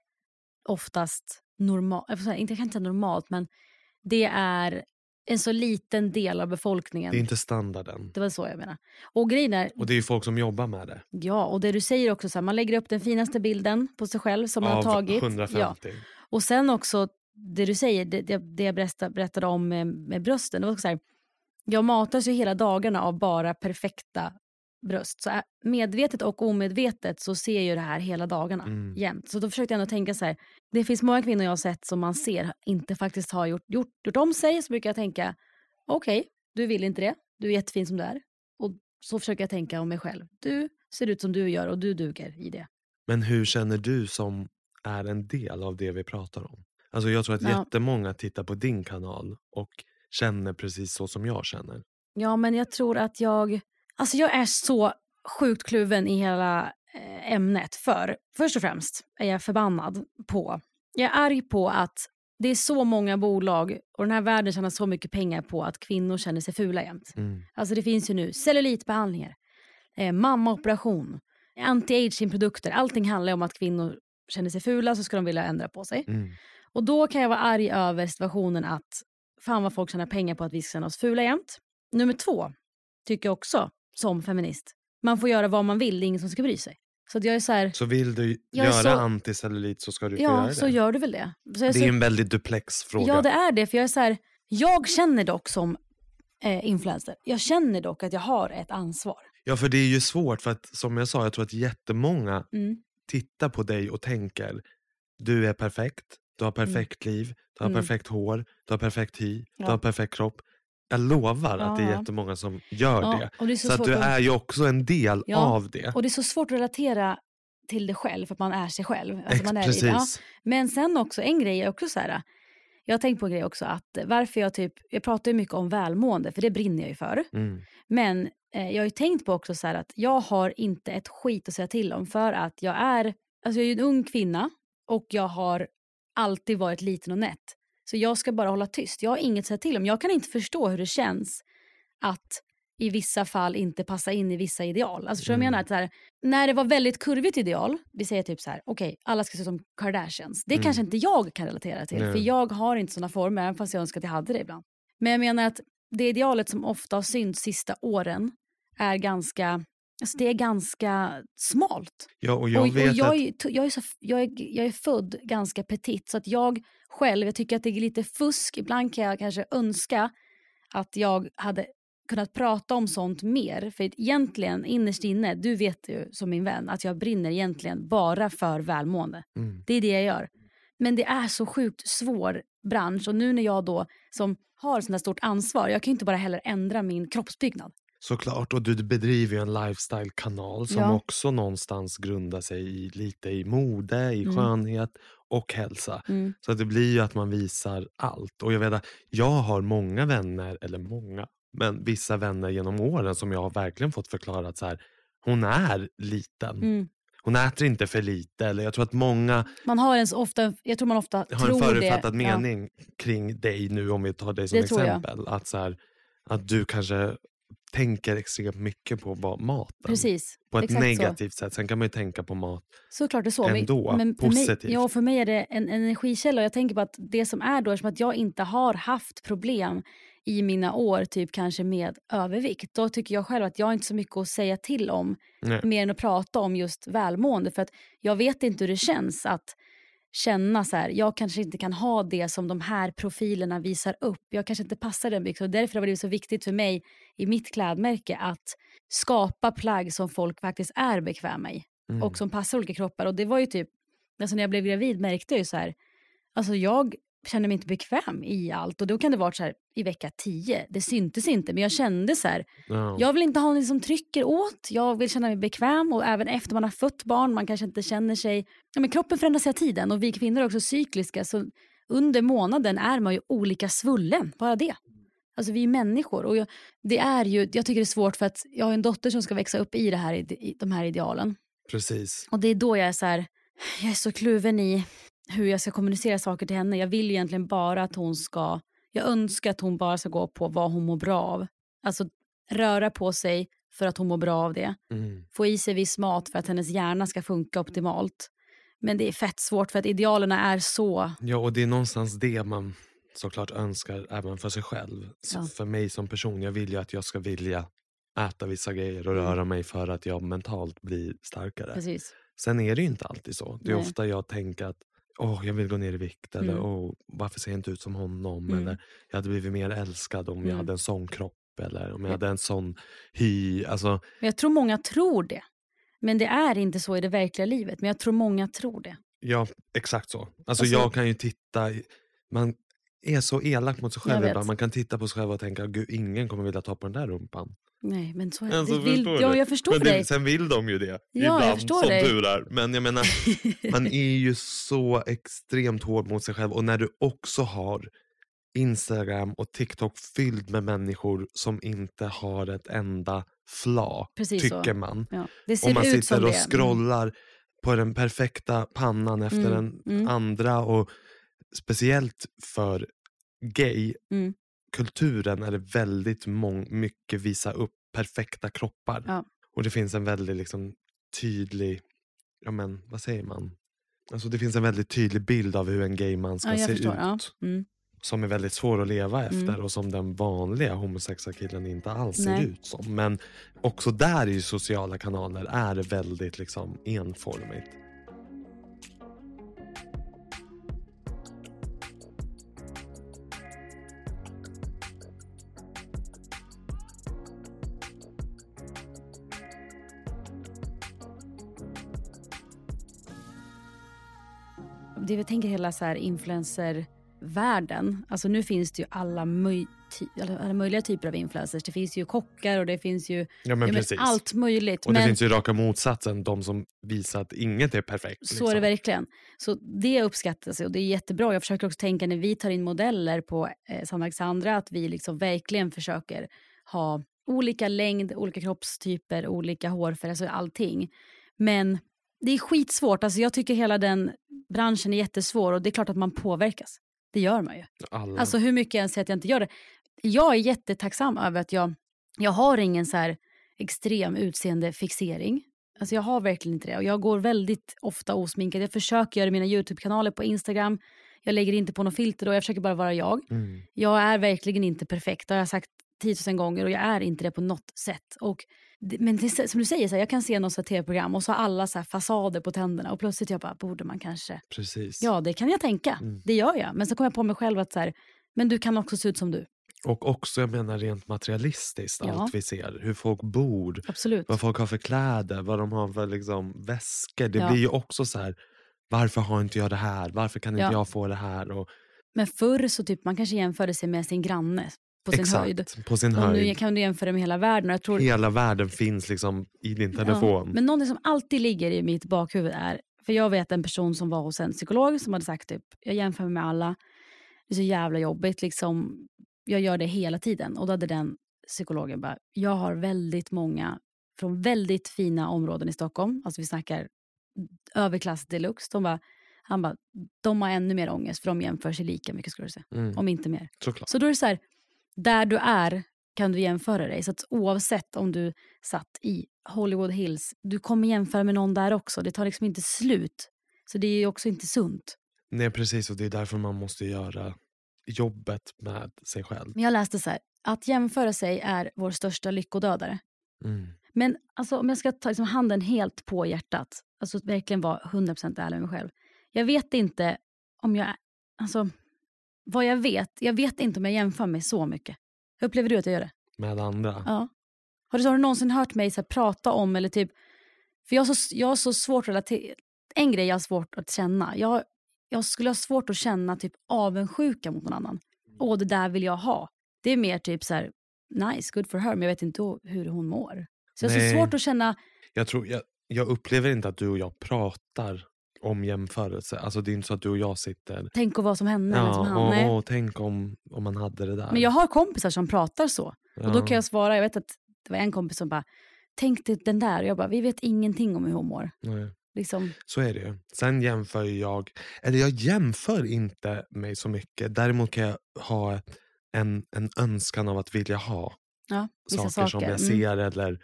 Speaker 1: oftast normalt, jag kan inte säga normalt, men det är en så liten del av befolkningen.
Speaker 2: Det är inte standarden.
Speaker 1: Det var så jag menar. Och grejen är,
Speaker 2: Och det är ju folk som jobbar med det.
Speaker 1: ja, och det du säger också, så här, man lägger upp den finaste bilden på sig själv som man har
Speaker 2: av
Speaker 1: tagit. Ja.
Speaker 2: 150.
Speaker 1: Och sen också det du säger, det, det, det jag berätta, berättade om eh, med brösten. Det var också så här, jag matas ju hela dagarna av bara perfekta bröst. Så ä- medvetet och omedvetet så ser jag ju det här hela dagarna
Speaker 2: Mm.
Speaker 1: jämt. Så då försökte jag ändå tänka så här, det finns många kvinnor jag har sett som man ser inte faktiskt har gjort, gjort, gjort om sig. Så brukar jag tänka, okej, du vill inte det, du är jättefin som du är. Och så försöker jag tänka om mig själv. Du ser ut som du gör och du duger i det.
Speaker 2: Men hur känner du som är en del av det vi pratar om? Alltså jag tror att
Speaker 1: Ja.
Speaker 2: jättemånga tittar på din kanal och känner precis så som jag känner.
Speaker 1: Ja, men jag tror att jag... Alltså jag är så sjukt kluven i hela eh, ämnet. För först och främst är jag förbannad på... Jag är arg på att det är så många bolag och den här världen tjänar så mycket pengar på att kvinnor känner sig fula jämt.
Speaker 2: Mm.
Speaker 1: Alltså det finns ju nu cellulitbehandlingar, eh, mammaoperation, anti-aging-produkter. Allting handlar ju om att kvinnor känner sig fula så ska de vilja ändra på sig.
Speaker 2: Mm.
Speaker 1: Och då kan jag vara arg över situationen att fan vad folk tjänar pengar på att vi ska känna oss fula jämt. Nummer två, tycker jag också som feminist, man får göra vad man vill, det är ingen som ska bry sig. Så att jag är så här,
Speaker 2: Så vill du
Speaker 1: Jag är
Speaker 2: göra
Speaker 1: så-
Speaker 2: anticellulit så ska du få göra
Speaker 1: ja
Speaker 2: det.
Speaker 1: så gör du väl det. Så jag är
Speaker 2: det
Speaker 1: så-
Speaker 2: är en väldigt duplex fråga.
Speaker 1: Ja, det är det. För jag är så här, jag känner dock som eh, influencer, jag känner dock att jag har ett ansvar.
Speaker 2: ja, för det är ju svårt för att som jag sa, jag tror att jättemånga
Speaker 1: Mm.
Speaker 2: tittar på dig och tänker du är perfekt, Du har perfekt liv, du har
Speaker 1: Mm.
Speaker 2: perfekt hår, du har perfekt hy,
Speaker 4: Ja.
Speaker 2: du har perfekt kropp. Jag lovar att det
Speaker 1: Ja,
Speaker 2: är
Speaker 1: ja.
Speaker 2: jättemånga som gör
Speaker 1: Ja,
Speaker 2: det.
Speaker 1: och det är så
Speaker 2: så att
Speaker 1: svårt
Speaker 2: du
Speaker 1: att-
Speaker 2: är ju också en del
Speaker 1: Ja,
Speaker 2: av det.
Speaker 1: Och det är så svårt att relatera till det själv, för att man är sig själv. Alltså
Speaker 2: Ex-
Speaker 1: man är,
Speaker 2: Precis.
Speaker 1: Ja. Men sen också, en grej är också så här, jag har tänkt på en grej också, att varför jag typ, jag pratar ju mycket om välmående, för det brinner jag ju för.
Speaker 2: Mm.
Speaker 1: Men eh, jag har ju tänkt på också så här att jag har inte ett skit att säga till om för att jag är, alltså jag är ju en ung kvinna och jag har alltid varit liten och nätt. Så jag ska bara hålla tyst. Jag har inget att säga till om. Jag kan inte förstå hur det känns att i vissa fall inte passa in i vissa ideal. Alltså förstår du vad jag
Speaker 2: Mm.
Speaker 1: menar? Att så här, när det var väldigt kurvigt ideal, vi säger typ så här, okej, alla ska se ut som Kardashians. Det
Speaker 2: Mm.
Speaker 1: kanske inte jag kan relatera till, för
Speaker 2: Nej.
Speaker 1: jag har inte såna former, även fast jag önskar att jag hade det ibland. Men jag menar att det idealet som ofta har synts sista åren är ganska, alltså det är ganska smalt.
Speaker 2: Ja, och jag
Speaker 1: och,
Speaker 2: vet
Speaker 1: och jag,
Speaker 2: att...
Speaker 1: är, ju t- jag, är så, jag, är, jag är född ganska petit så att jag själv, jag tycker att det är lite fusk. Ibland kan jag kanske önska att jag hade kunnat prata om sånt mer. För att egentligen, innerst inne, du vet ju som min vän att jag brinner egentligen bara för välmående.
Speaker 2: Mm.
Speaker 1: Det är det jag gör. Men det är så sjukt svår bransch och nu när jag då som har sånt här stort ansvar, jag kan ju inte bara heller ändra min kroppsbyggnad.
Speaker 2: Såklart, och du bedriver ju en lifestyle-kanal som
Speaker 1: Ja.
Speaker 2: också någonstans grundar sig i, lite i mode, i
Speaker 1: Mm.
Speaker 2: skönhet och hälsa.
Speaker 1: Mm.
Speaker 2: Så att det blir ju att man visar allt. Och jag vet att jag har många vänner, eller många, men vissa vänner genom åren som jag har verkligen fått förklarat så här, hon är liten.
Speaker 1: Mm.
Speaker 2: Hon äter inte för lite. Eller jag tror att många
Speaker 1: Man har ens ofta, jag tror man ofta
Speaker 2: har
Speaker 1: tror
Speaker 2: en förutfattad
Speaker 1: det. Ja.
Speaker 2: mening kring dig nu om vi tar dig som
Speaker 1: Det tror jag.
Speaker 2: exempel. Att, så här, att du kanske tänker extremt mycket på vad maten.
Speaker 1: Precis.
Speaker 2: På ett
Speaker 1: exakt
Speaker 2: negativt sätt. Sen kan man ju tänka på mat.
Speaker 1: Så. Såklart det är så.
Speaker 2: ändå,
Speaker 1: för mig,
Speaker 2: positivt.
Speaker 1: ja, för mig är det en, en energikälla och jag tänker på att det som är då, eftersom att jag inte har haft problem i mina år, typ kanske med övervikt, då tycker jag själv att jag har inte så mycket att säga till om,
Speaker 2: Nej.
Speaker 1: mer än att prata om just välmående. För att jag vet inte hur det känns att känna så här, jag kanske inte kan ha det som de här profilerna visar upp. Jag kanske inte passar den byxan. Och Därför har det blivit så viktigt för mig i mitt klädmärke att skapa plagg som folk faktiskt är bekväma i
Speaker 2: Mm.
Speaker 1: och som passar olika kroppar. Och det var ju typ, alltså när jag blev gravid märkte jag ju så här, alltså jag kände mig inte bekväm i allt. Och då kan det vara så här i vecka 10, det syntes inte, men jag kände så här,
Speaker 2: Ja.
Speaker 1: jag vill inte ha någon som trycker åt, jag vill känna mig bekväm och även efter man har fött barn, man kanske inte känner sig... Ja, men kroppen förändras hela tiden och vi kvinnor är också cykliska så under månaden är man ju olika svullen, bara det. Alltså vi är människor och jag, det är ju, jag tycker det är svårt för att jag har en dotter som ska växa upp i, det här, ide- i de här idealen.
Speaker 2: Precis.
Speaker 1: Och det är då jag är så här, jag är så kluven i hur jag ska kommunicera saker till henne. Jag vill ju egentligen bara att hon ska, jag önskar att hon bara ska gå på vad hon mår bra av. Alltså röra på sig för att hon mår bra av det.
Speaker 2: Mm.
Speaker 1: Få i sig viss mat för att hennes hjärna ska funka optimalt. Men det är fett svårt för att idealen är så.
Speaker 2: Ja, och det är någonstans det man såklart önskar även för sig själv. Så
Speaker 1: Ja.
Speaker 2: För mig som person, jag vill ju att jag ska vilja äta vissa grejer
Speaker 1: Mm.
Speaker 2: och röra mig för att jag mentalt blir starkare.
Speaker 1: Precis.
Speaker 2: Sen är det ju inte alltid så. Det är
Speaker 1: Nej.
Speaker 2: ofta jag tänker att åh, jag vill gå ner i vikt eller
Speaker 1: Mm.
Speaker 2: åh, varför ser jag inte ut som honom?
Speaker 1: Mm.
Speaker 2: Eller jag hade blivit mer älskad om jag
Speaker 1: Mm.
Speaker 2: hade en sån kropp eller om jag
Speaker 1: Ja.
Speaker 2: hade en sån hy. Alltså,
Speaker 1: Men jag tror många tror det. Men det är inte så i det verkliga livet. Men jag tror många tror det.
Speaker 2: ja, exakt så. Alltså,
Speaker 1: Alltså-
Speaker 2: jag kan ju titta, i- man är så elak mot sig
Speaker 1: Jag
Speaker 2: själv
Speaker 1: vet.
Speaker 2: ibland. Man kan titta på sig själv och tänka, gud ingen kommer vilja ta på den där rumpan.
Speaker 1: Nej, men så är det.
Speaker 2: Alltså,
Speaker 1: det vill,
Speaker 2: förstår
Speaker 1: ja,
Speaker 2: du?
Speaker 1: jag förstår
Speaker 2: Men det-
Speaker 1: dig.
Speaker 2: Sen vill de ju det,
Speaker 1: jag
Speaker 2: ibland,
Speaker 1: förstår
Speaker 2: som
Speaker 1: dig.
Speaker 2: tur är. Men jag menar, man är ju så extremt hård mot sig själv. Och när du också har Instagram och TikTok fylld med människor som inte har ett enda fla,
Speaker 1: Precis så.
Speaker 2: tycker man.
Speaker 1: Ja. Det
Speaker 2: och
Speaker 1: ser
Speaker 2: man
Speaker 1: ut som
Speaker 2: sitter och
Speaker 1: det. Mm.
Speaker 2: scrollar på den perfekta pannan
Speaker 1: Mm,
Speaker 2: efter den
Speaker 1: mm.
Speaker 2: andra. Och speciellt för gay
Speaker 1: Mm.
Speaker 2: kulturen är det väldigt mång- mycket visa upp perfekta kroppar.
Speaker 1: Ja.
Speaker 2: Och det finns en väldigt liksom, tydlig, ja men vad säger man? Alltså det finns en väldigt tydlig bild av hur en gay man ska
Speaker 1: Ja, jag
Speaker 2: se
Speaker 1: förstår.
Speaker 2: ut.
Speaker 1: Ja. Mm.
Speaker 2: Som är väldigt svår att leva efter
Speaker 1: Mm.
Speaker 2: och som den vanliga homosexuella killen inte alls
Speaker 1: Nej.
Speaker 2: ser ut som. Men också där i sociala kanaler är det väldigt liksom enformigt.
Speaker 1: det vi tänker hela så här influencervärlden. Alltså nu finns det ju alla, möj- ty- alla- alla möjliga typer av influencers. Det finns ju kockar och det finns ju
Speaker 2: Ja, men precis.
Speaker 1: allt möjligt.
Speaker 2: Och det
Speaker 1: men
Speaker 2: finns ju raka motsatsen, de som visar att inget är perfekt. liksom.
Speaker 1: så är det verkligen. Så det uppskattas ju och det är jättebra. Jag försöker också tänka när vi tar in modeller på eh, Sanna Alexandra att vi liksom verkligen försöker ha olika längd, olika kroppstyper, olika hårfärg, alltså allting. Men det är skitsvårt. Alltså jag tycker hela den branschen är jättesvår och det är klart att man påverkas. Det gör man ju.
Speaker 2: Alla.
Speaker 1: Alltså hur mycket jag än säger att jag inte gör det. Jag är jättetacksam över att jag, jag har ingen så här extrem utseendefixering. Alltså jag har verkligen inte det. Och jag går väldigt ofta osminkad. Jag försöker göra mina YouTube-kanaler på Instagram. Jag lägger inte på något filter och jag försöker bara vara jag.
Speaker 2: Mm.
Speaker 1: Jag är verkligen inte perfekt, det har jag sagt 10 000 gånger och jag är inte det på något sätt. Och, det- men det, är så- som du säger, så här, jag kan se något så här tv-program och så har alla så här fasader på tänderna och plötsligt jag bara, borde man kanske?
Speaker 2: Precis.
Speaker 1: Ja, det kan jag tänka.
Speaker 2: Mm.
Speaker 1: Det gör jag. Men så kom jag på mig själv att så här, men du kan också se ut som du.
Speaker 2: Och också, jag menar rent materialistiskt,
Speaker 1: Ja.
Speaker 2: allt vi ser. Hur folk bor,
Speaker 1: Absolut.
Speaker 2: vad folk har för kläder, vad de har för liksom, väskor. Det
Speaker 1: Ja.
Speaker 2: blir ju också så här, varför har inte jag det här? Varför kan inte
Speaker 1: Ja.
Speaker 2: jag få det här? Och,
Speaker 1: Men förr så typ man kanske jämförde sig med sin granne på sin
Speaker 2: exakt,
Speaker 1: höjd.
Speaker 2: på sin
Speaker 1: Och nu
Speaker 2: höjd.
Speaker 1: kan du jämföra med hela världen. Och jag tror,
Speaker 2: Hela världen finns liksom i din
Speaker 1: Ja,
Speaker 2: telefon.
Speaker 1: Men någonting som alltid ligger i mitt bakhuvud är, för jag vet en person som var hos en psykolog som hade sagt typ, jag jämför mig med alla, det är så jävla jobbigt, liksom, jag gör det hela tiden. Och då hade den psykologen bara, jag har väldigt många från väldigt fina områden i Stockholm, alltså vi snackar överklass deluxe, de bara, han bara, de har ännu mer ångest för de jämför sig lika mycket skulle du säga,
Speaker 2: Mm,
Speaker 1: om inte mer.
Speaker 2: såklart.
Speaker 1: Så då är det så här, där du är kan du jämföra dig. Så att oavsett om du satt i Hollywood Hills, du kommer jämföra med någon där också. Det tar liksom inte slut. Så det är ju också inte sunt.
Speaker 2: Nej precis och det är därför man måste göra jobbet med sig själv.
Speaker 1: Men jag läste så här, att jämföra sig är vår största lyckodödare.
Speaker 2: Mm.
Speaker 1: Men alltså, om jag ska ta liksom, handen helt på hjärtat, alltså verkligen vara 100% ärlig med mig själv. Jag vet inte om jag, alltså vad jag vet, jag vet inte om jag jämför mig så mycket. Upplever du att jag gör det?
Speaker 2: Med andra.
Speaker 1: Ja. Har du, har du någonsin hört mig så här, prata om, eller typ, för jag har så, jag har så svårt att relatera, en grej jag har svårt att känna, jag, jag skulle ha svårt att känna typ avundsjuka mot någon annan.
Speaker 2: Mm.
Speaker 1: Åh, det där vill jag ha. Det är mer typ så här, nice, good for her, men jag vet inte hur hon mår. Så jag har
Speaker 2: Nej.
Speaker 1: så svårt att känna,
Speaker 2: Jag, tror, jag, jag upplever inte att du och jag pratar om jämförelse. Alltså det är inte så att du och jag sitter
Speaker 1: tänk och vad som hände. eller som
Speaker 2: Ja,
Speaker 1: han. Nej.
Speaker 2: åh, tänk om, om man hade det där.
Speaker 1: Men jag har kompisar som pratar så. Och då
Speaker 2: Ja.
Speaker 1: kan jag svara, jag vet att det var en kompis som bara, tänk dig den där. Och jag bara, vi vet ingenting om hur hon mår.
Speaker 2: Nej,
Speaker 1: Liksom,
Speaker 2: så är det ju. Sen jämför ju jag, eller jag jämför inte mig så mycket. Däremot kan jag ha ett- en, en önskan av att vilja ha
Speaker 1: ja, vissa
Speaker 2: saker, som jag
Speaker 1: Mm.
Speaker 2: ser eller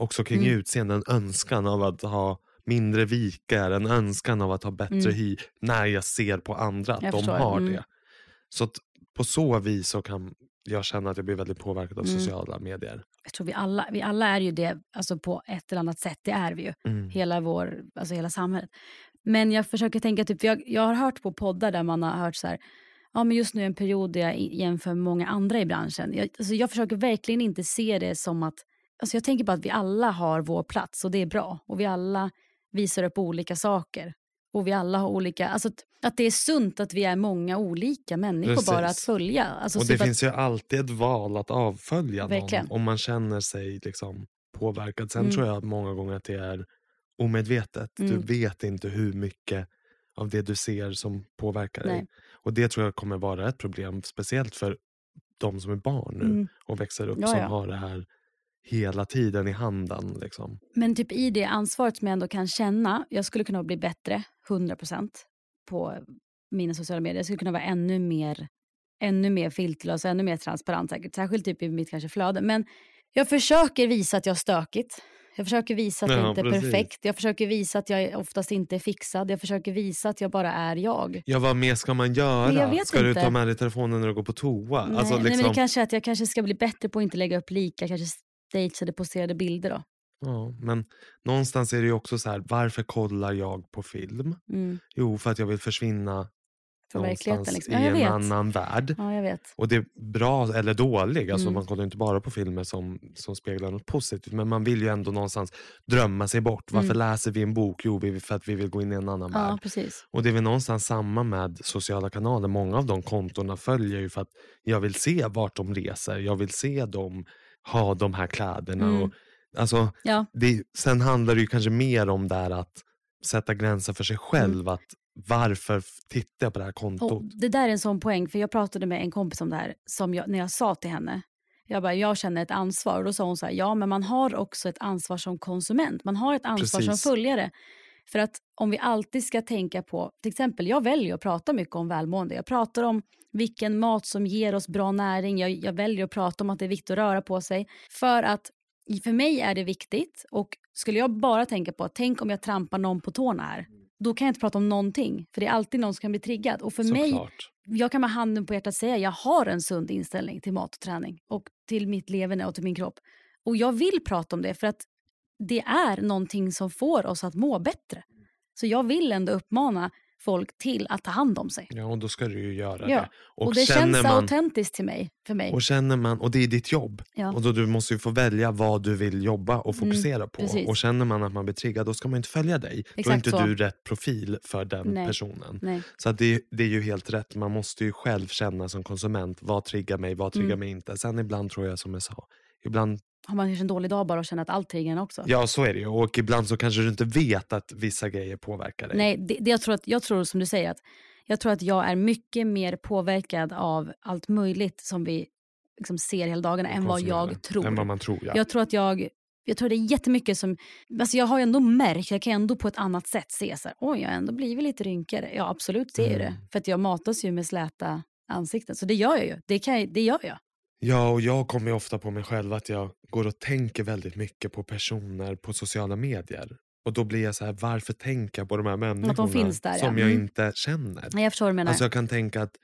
Speaker 2: också kring
Speaker 1: Mm.
Speaker 2: utseende, en önskan av att ha mindre vikar, en önskan av att ha bättre
Speaker 1: Mm.
Speaker 2: hy när jag ser på andra att
Speaker 1: Jag
Speaker 2: de
Speaker 1: förstår,
Speaker 2: har
Speaker 1: mm.
Speaker 2: det. Så att på så vis så kan jag känna att jag blir väldigt påverkad av
Speaker 1: Mm.
Speaker 2: sociala medier.
Speaker 1: jag tror vi alla, vi alla är ju det alltså på ett eller annat sätt. Det är vi ju.
Speaker 2: Mm.
Speaker 1: Hela, vår, alltså hela samhället. Men jag försöker tänka, typ, för jag, jag har hört på poddar där man har hört så här, ja men just nu är en period där jag i- jämför med många andra i branschen. Jag, alltså jag försöker verkligen inte se det som att, alltså jag tänker bara att vi alla har vår plats och det är bra. Och vi alla visar upp olika saker. Och vi alla har olika, alltså att, att det är sunt att vi är många olika människor bara att
Speaker 2: Precis.
Speaker 1: följa. Alltså
Speaker 2: och
Speaker 1: typ
Speaker 2: det
Speaker 1: att-
Speaker 2: finns ju alltid ett val att avfölja
Speaker 1: Verkligen.
Speaker 2: någon om man känner sig liksom påverkad. Sen
Speaker 1: Mm.
Speaker 2: tror jag många gånger att det är omedvetet.
Speaker 1: Mm.
Speaker 2: Du vet inte hur mycket av det du ser som påverkar dig.
Speaker 1: Nej.
Speaker 2: Och det tror jag kommer vara ett problem, speciellt för de som är barn nu
Speaker 1: Mm.
Speaker 2: och växer upp
Speaker 1: Ja,
Speaker 2: som
Speaker 1: ja.
Speaker 2: har det här hela tiden i handen. Liksom.
Speaker 1: Men typ i det ansvaret som jag ändå kan känna, jag skulle kunna bli bättre, 100% på mina sociala medier. Jag skulle kunna vara ännu mer, ännu mer filterlös och ännu mer transparent säkert. Särskilt typ i mitt kanske flöde. Men jag försöker visa att jag har stökigt. Jag försöker visa att jag
Speaker 2: Ja,
Speaker 1: inte är
Speaker 2: precis.
Speaker 1: perfekt. Jag försöker visa att jag oftast inte är fixad. Jag försöker visa att jag bara är jag.
Speaker 2: Ja, vad mer ska man göra?
Speaker 1: Men jag vet
Speaker 2: ska du
Speaker 1: inte.
Speaker 2: ta med dig telefonen när du går på toa?
Speaker 1: Nej,
Speaker 2: Alltså,
Speaker 1: nej, men
Speaker 2: liksom-
Speaker 1: det kanske är att jag kanske ska bli bättre på att inte lägga upp lika, kanske stageade, posterade bilder då.
Speaker 2: Ja, men någonstans är det ju också så här, varför kollar jag på film?
Speaker 1: Mm.
Speaker 2: Jo, för att jag vill försvinna
Speaker 1: från verkligheten.
Speaker 2: någonstans
Speaker 1: Liksom.
Speaker 2: i
Speaker 1: Ja, jag
Speaker 2: en
Speaker 1: vet.
Speaker 2: annan värld.
Speaker 1: Ja, jag vet.
Speaker 2: Och det är bra eller dålig, alltså
Speaker 1: Mm.
Speaker 2: man kollar ju inte bara på filmer som, som speglar något positivt men man vill ju ändå någonstans drömma sig bort. Varför
Speaker 1: Mm.
Speaker 2: läser vi en bok? Jo, vi- för att vi vill gå in i en annan
Speaker 1: Ja,
Speaker 2: värld.
Speaker 1: precis.
Speaker 2: Och det är väl någonstans samma med sociala kanaler. Många av de kontona följer ju för att jag vill se vart de reser. Jag vill se dem ha de här kläderna.
Speaker 1: Mm.
Speaker 2: Och, alltså,
Speaker 1: Ja,
Speaker 2: det, sen handlar det ju kanske mer om där att sätta gränser för sig själv. Att varför f- tittar jag på det här kontot?
Speaker 1: Mm. och det där är en sån poäng, för jag pratade med en kompis om det här, som jag, när jag sa till henne, jag bara, jag känner ett ansvar. Och då sa hon så här, ja men man har också ett ansvar som konsument, man har ett ansvar
Speaker 2: Precis.
Speaker 1: som följare. För att om vi alltid ska tänka på, till exempel jag väljer att prata mycket om välmående, jag pratar om vilken mat som ger oss bra näring, jag, jag väljer att prata om att det är viktigt att röra på sig. För att i- för mig är det viktigt och skulle jag bara tänka på, tänk om jag trampar någon på tårna här, då kan jag inte prata om någonting, för det är alltid någon som kan bli triggad. Och för mig
Speaker 2: Såklart.
Speaker 1: jag kan med handen på hjärtat säga jag har en sund inställning till mat och träning och till mitt leverne och till min kropp. Och jag vill prata om det för att det är någonting som får oss att må bättre. Så jag vill ändå uppmana folk till att ta hand om sig.
Speaker 2: Ja, och då ska du ju göra
Speaker 1: Ja,
Speaker 2: det.
Speaker 1: Och, det känns autentiskt till mig, för mig.
Speaker 2: och känner man, och det är ditt jobb.
Speaker 1: Ja.
Speaker 2: Och då du måste ju få välja vad du vill jobba och
Speaker 1: Mm,
Speaker 2: fokusera på.
Speaker 1: precis.
Speaker 2: Och känner man att man blir triggad, då ska man inte följa dig. då är
Speaker 1: Exakt
Speaker 2: inte
Speaker 1: så.
Speaker 2: du rätt profil för den
Speaker 1: Nej.
Speaker 2: personen.
Speaker 1: Nej.
Speaker 2: Så att det, det är ju helt rätt. Man måste ju själv känna som konsument, vad triggar mig, vad triggar
Speaker 1: Mm.
Speaker 2: mig inte. Sen ibland tror jag som jag sa, ibland,
Speaker 1: Har man kanske en dålig dag bara och känner att allt triggar en också?
Speaker 2: ja så är det ju. Och ibland så kanske du inte vet att vissa grejer påverkar dig.
Speaker 1: Nej, det, det jag, tror att, jag tror som du säger att jag tror att jag är mycket mer påverkad av allt möjligt som vi liksom ser hela dagarna än vad
Speaker 2: Konsumerar.
Speaker 1: jag tror.
Speaker 2: Än vad man tror ja.
Speaker 1: Jag tror att jag, jag tror det är jättemycket som, alltså jag har ju ändå märkt, jag kan ändå på ett annat sätt se så här, oj jag har ändå blivit lite rynkigare. Ja absolut ser jag det,
Speaker 2: Mm.
Speaker 1: för att jag matas ju med släta ansikten. Så det gör jag ju, det, kan, jag- det gör jag.
Speaker 2: Ja, och jag kommer ju ofta på mig själv att jag går och tänker väldigt mycket på personer på sociala medier. Och då blir jag så här, varför tänker jag på de här människorna
Speaker 1: finns där, ja.
Speaker 2: som jag
Speaker 1: Mm.
Speaker 2: inte känner?
Speaker 1: Nej, jag förstår vad du menar.
Speaker 2: Alltså jag kan tänka att,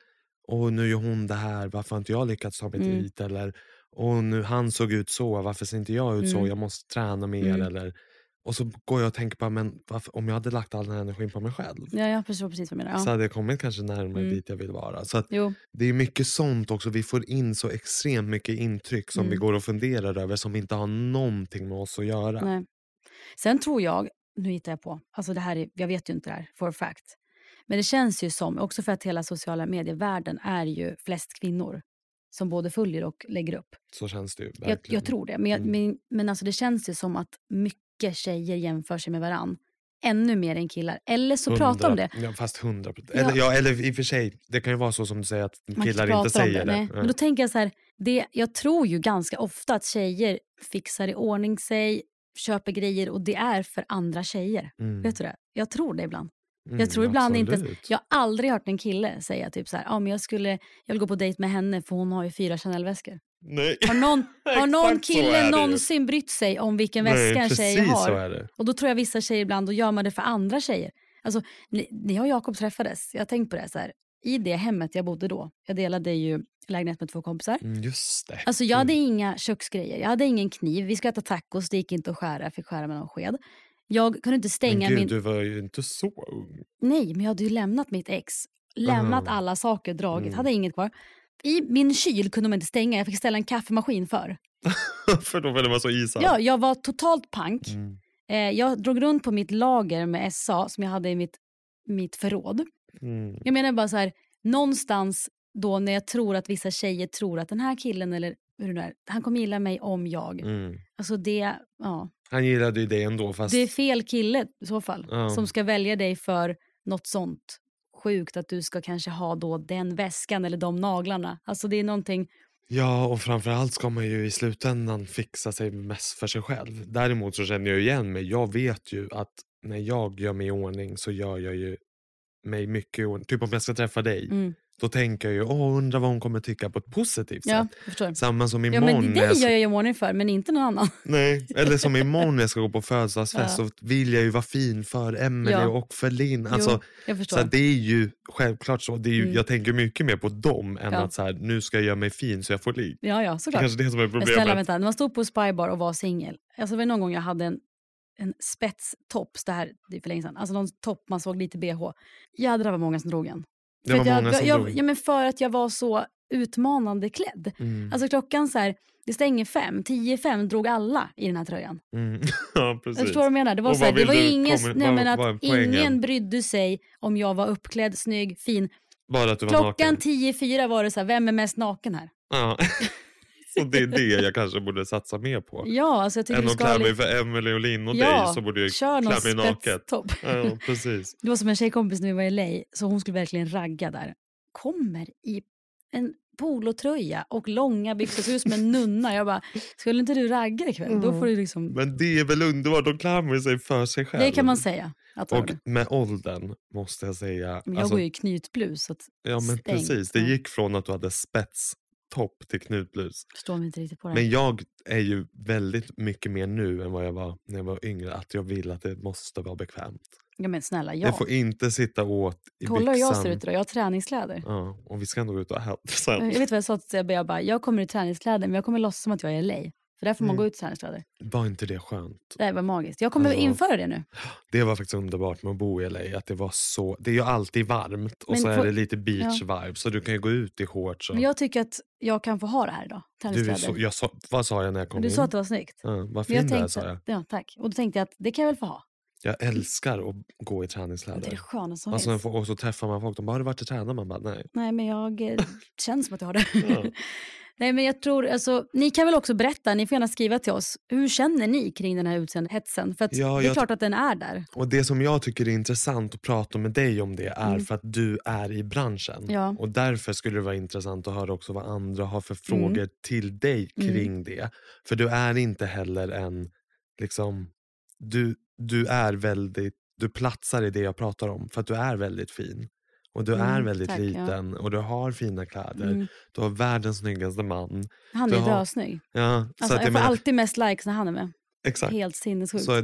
Speaker 2: åh nu gör hon det här, varför har inte jag lyckats ta mig
Speaker 1: Mm.
Speaker 2: dit? Eller, åh nu han såg ut så, varför ser inte jag ut så?
Speaker 1: Mm.
Speaker 2: Jag måste träna mer.
Speaker 1: Mm.
Speaker 2: Eller, och så går jag och tänker på, men varför, om jag hade lagt all den här energin på mig själv
Speaker 1: ja, jag förstår precis vad du menar.
Speaker 2: så
Speaker 1: Ja.
Speaker 2: hade jag kommit kanske närmare
Speaker 1: Mm.
Speaker 2: dit jag vill vara. Så att
Speaker 1: Jo,
Speaker 2: det är mycket sånt också. Vi får in så extremt mycket intryck som vi
Speaker 1: Mm.
Speaker 2: går och funderar över som inte har någonting med oss att göra.
Speaker 1: nej. Sen tror jag, nu hittar jag på, alltså det här är, jag vet ju inte det här for a fact. Men det känns ju som, också för att hela sociala medievärlden är ju flest kvinnor som både följer och lägger upp.
Speaker 2: Så känns det ju.
Speaker 1: Jag,
Speaker 2: verkligen.
Speaker 1: jag tror det. Men, jag,
Speaker 2: Mm.
Speaker 1: men, men alltså det känns ju som att mycket tjejer jämför sig med varann. Ännu mer än killar. Eller så pratar om
Speaker 2: Hundra-
Speaker 1: det.
Speaker 2: Ja, fast hundra procent.
Speaker 1: Ja.
Speaker 2: Eller, ja, eller i och för sig, det kan ju vara så som du säger att
Speaker 1: Man
Speaker 2: killar
Speaker 1: pratar
Speaker 2: inte säger det.
Speaker 1: Nej. Men
Speaker 2: Nej.
Speaker 1: då tänker jag så här, det, jag tror ju ganska ofta att tjejer fixar i ordning sig, köper grejer och det är för andra tjejer.
Speaker 2: Mm.
Speaker 1: Vet du det? Jag tror det ibland.
Speaker 2: Mm,
Speaker 1: jag tror ibland inte...
Speaker 2: absolut.
Speaker 1: Jag har aldrig hört en kille säga typ så här, ja men jag, skulle, jag vill gå på dejt med henne för hon har ju fyra Chanel-väskor.
Speaker 2: Nej.
Speaker 1: Har någon, har någon
Speaker 2: Exakt så är det
Speaker 1: kille
Speaker 2: ju.
Speaker 1: någonsin brytt sig om vilken
Speaker 2: Nej,
Speaker 1: väska en tjej
Speaker 2: precis
Speaker 1: har?
Speaker 2: så är det.
Speaker 1: Och då tror jag vissa tjejer ibland, då gör man det för andra tjejer. Alltså, ni, när jag och Jakob träffades, jag har tänkt på det så här. I det hemmet jag bodde då, jag delade ju lägenhet med två kompisar.
Speaker 2: Mm, just det. Mm.
Speaker 1: Alltså jag hade inga köksgrejer, jag hade ingen kniv, vi skulle äta tacos, det gick inte att skära, jag fick skära med någon sked. Jag kunde inte
Speaker 2: men
Speaker 1: stänga
Speaker 2: gud,
Speaker 1: min...
Speaker 2: du var ju inte så ung.
Speaker 1: Nej, men jag hade ju lämnat mitt ex. Lämnat
Speaker 2: Aha.
Speaker 1: alla saker, dragit,
Speaker 2: Mm.
Speaker 1: hade inget kvar. I min kyl kunde man inte stänga, jag fick ställa en kaffemaskin för.
Speaker 2: för då var det vara så isad.
Speaker 1: Ja, jag var totalt pank.
Speaker 2: Mm.
Speaker 1: Eh, jag drog runt på mitt lager med SA som jag hade i mitt, mitt förråd.
Speaker 2: Mm.
Speaker 1: Jag menar bara så här, någonstans då när jag tror att vissa tjejer tror att den här killen eller hur det är, han kommer gilla mig om jag.
Speaker 2: Mm.
Speaker 1: Alltså det, ja.
Speaker 2: Han gillade ju dig ändå fast...
Speaker 1: Det är fel kille i så fall
Speaker 2: Ja.
Speaker 1: som ska välja dig för något sånt sjukt att du ska kanske ha då den väskan eller de naglarna. Alltså det är någonting,
Speaker 2: Ja, och framförallt ska man ju i slutändan fixa sig mest för sig själv. Däremot så känner jag igen mig. Jag vet ju att när jag gör mig i ordning så gör jag ju mig mycket i ordning. Typ om jag ska träffa dig,
Speaker 1: Mm.
Speaker 2: då tänker jag ju åh, undrar vad hon kommer tycka på ett positivt
Speaker 1: ja,
Speaker 2: sätt.
Speaker 1: jag förstår.
Speaker 2: Samma som
Speaker 1: Ja
Speaker 2: imorgon.
Speaker 1: men
Speaker 2: när jag
Speaker 1: dig
Speaker 2: ska-
Speaker 1: gör jag ju ordning för men inte någon annan.
Speaker 2: Nej, eller som imorgon när jag ska gå på födelsedagsfest
Speaker 1: Ja.
Speaker 2: så vill jag ju vara fin för Emelie
Speaker 1: Ja.
Speaker 2: och för Linn. Alltså,
Speaker 1: jo, jag förstår.
Speaker 2: så att det är ju självklart så. Det är ju,
Speaker 1: Mm.
Speaker 2: Jag tänker mycket mer på dem än
Speaker 1: Ja.
Speaker 2: att så här, nu ska jag göra mig fin så jag får ligg.
Speaker 1: Ja, ja,
Speaker 2: Det är
Speaker 1: såklart.
Speaker 2: kanske det som är
Speaker 1: Men
Speaker 2: problemet.
Speaker 1: snälla vänta, när man stod på Spybar och var singel. Alltså det var någon gång jag hade en, en spetstopp, det här det är för länge sedan. Alltså någon topp man såg lite bh. Jädrar vad många som drog en.
Speaker 2: Det
Speaker 1: för
Speaker 2: var
Speaker 1: att jag,
Speaker 2: många som
Speaker 1: jag,
Speaker 2: drog.
Speaker 1: Ja, men för att jag var så utmanande klädd.
Speaker 2: Mm.
Speaker 1: Alltså klockan så här, det stänger fem, tio i fem drog alla i den här tröjan.
Speaker 2: Mm. ja, precis.
Speaker 1: Jag förstår vad du menar. Det var,
Speaker 2: Och
Speaker 1: så här,
Speaker 2: vad
Speaker 1: det
Speaker 2: vill
Speaker 1: var
Speaker 2: du
Speaker 1: ingen,
Speaker 2: komma-
Speaker 1: nej,
Speaker 2: vad-
Speaker 1: men att
Speaker 2: vad är poängen?
Speaker 1: ingen brydde sig om jag var uppklädd, snygg, fin.
Speaker 2: Bara att du var
Speaker 1: Klockan
Speaker 2: naken.
Speaker 1: tio i fyra var det så här, vem är mest naken här?
Speaker 2: Ja. och det är det jag kanske borde satsa mer på.
Speaker 1: Ja, alltså jag tycker
Speaker 2: Än
Speaker 1: du
Speaker 2: att
Speaker 1: ska...
Speaker 2: klä mig
Speaker 1: lite-
Speaker 2: för Emily och Linn och
Speaker 1: ja,
Speaker 2: dig så borde jag
Speaker 1: kör någon
Speaker 2: klä mig naket.
Speaker 1: spetstopp.
Speaker 2: Ja, precis.
Speaker 1: Det var som en tjejkompis när vi var i LA, så hon skulle verkligen ragga där. Kommer i en polotröja och långa byxor, ser ut som en nunna. Jag bara, skulle inte du ragga ikväll? Då får
Speaker 2: Mm.
Speaker 1: du liksom...
Speaker 2: Men det är väl underbart, de klär man ju sig för sig själv.
Speaker 1: Det kan man säga. Att och,
Speaker 2: Och med åldern måste jag säga.
Speaker 1: men jag
Speaker 2: alltså,
Speaker 1: går ju i knytblus, så att,
Speaker 2: ja, men
Speaker 1: stängt.
Speaker 2: precis, det
Speaker 1: Ja.
Speaker 2: gick från att du hade spetstopp till knutblus.
Speaker 1: förstår mig inte riktigt på det.
Speaker 2: Men jag är ju väldigt mycket mer nu än vad jag var när jag var yngre. Att jag vill att det måste vara bekvämt.
Speaker 1: ja, men snälla,
Speaker 2: Det
Speaker 1: ja.
Speaker 2: får inte sitta åt i
Speaker 1: Kolla hur
Speaker 2: byxan.
Speaker 1: jag ser ut idag, jag har träningskläder.
Speaker 2: Ja, och vi ska ändå ut och äta
Speaker 1: Jag
Speaker 2: sen.
Speaker 1: vet vad jag sa till Sebbe, jag bara, jag kommer i träningskläder men jag kommer låtsas som att jag är i LA. För där får man
Speaker 2: Mm.
Speaker 1: gå ut i träningskläder.
Speaker 2: Var inte det skönt?
Speaker 1: Det här var magiskt. Jag kommer
Speaker 2: Ja.
Speaker 1: införa det nu.
Speaker 2: Det var faktiskt underbart med att bo i LA. Att det, var så, det är ju alltid varmt och
Speaker 1: Men
Speaker 2: så är
Speaker 1: får-
Speaker 2: det lite beach vibe. Så du kan ju gå ut i shorts. Och...
Speaker 1: Men jag tycker att jag kan få ha det här idag.
Speaker 2: du är
Speaker 1: Träningskläder.
Speaker 2: så, jag sa, vad sa jag när jag kom
Speaker 1: Men du
Speaker 2: in?
Speaker 1: sa att det var snyggt.
Speaker 2: ja, vad
Speaker 1: Men
Speaker 2: fin
Speaker 1: jag
Speaker 2: du är, sa
Speaker 1: tänkte,
Speaker 2: jag.
Speaker 1: ja, tack. Och då tänkte jag att det kan jag väl få ha.
Speaker 2: Jag älskar att gå
Speaker 1: Det
Speaker 2: i
Speaker 1: är det
Speaker 2: träningskläder.
Speaker 1: skönaste som
Speaker 2: Alltså,
Speaker 1: finns.
Speaker 2: och så träffar man folk. De bara, har du varit och tränat? Man bara, nej.
Speaker 1: Nej, men jag eh, känns som att jag har det.
Speaker 2: Ja.
Speaker 1: Nej, men jag tror, alltså, ni kan väl också berätta, ni får gärna skriva till oss. Hur känner ni kring den här utseendehetsen? För att
Speaker 2: Ja,
Speaker 1: det är
Speaker 2: jag-
Speaker 1: klart att den är där.
Speaker 2: Och Det som jag tycker är intressant att prata med dig om det är för att du är i branschen.
Speaker 1: Mm. Ja.
Speaker 2: Och Därför skulle det vara intressant att höra också vad andra har för
Speaker 1: Mm.
Speaker 2: frågor till dig kring det. För du är inte heller en... liksom du, du är väldigt... Du platsar i det jag pratar om för att du är väldigt fin. Och Du är
Speaker 1: Mm,
Speaker 2: väldigt
Speaker 1: tack, ja.
Speaker 2: liten och du har fina kläder.
Speaker 1: Mm.
Speaker 2: Du har världens snyggaste man.
Speaker 1: Han
Speaker 2: Du
Speaker 1: är
Speaker 2: har-
Speaker 1: dösnygg.
Speaker 2: Ja,
Speaker 1: Alltså,
Speaker 2: att
Speaker 1: jag får
Speaker 2: menar-
Speaker 1: alltid mest likes när han är med.
Speaker 2: Exakt.
Speaker 1: Helt sinnessjukt.
Speaker 2: Så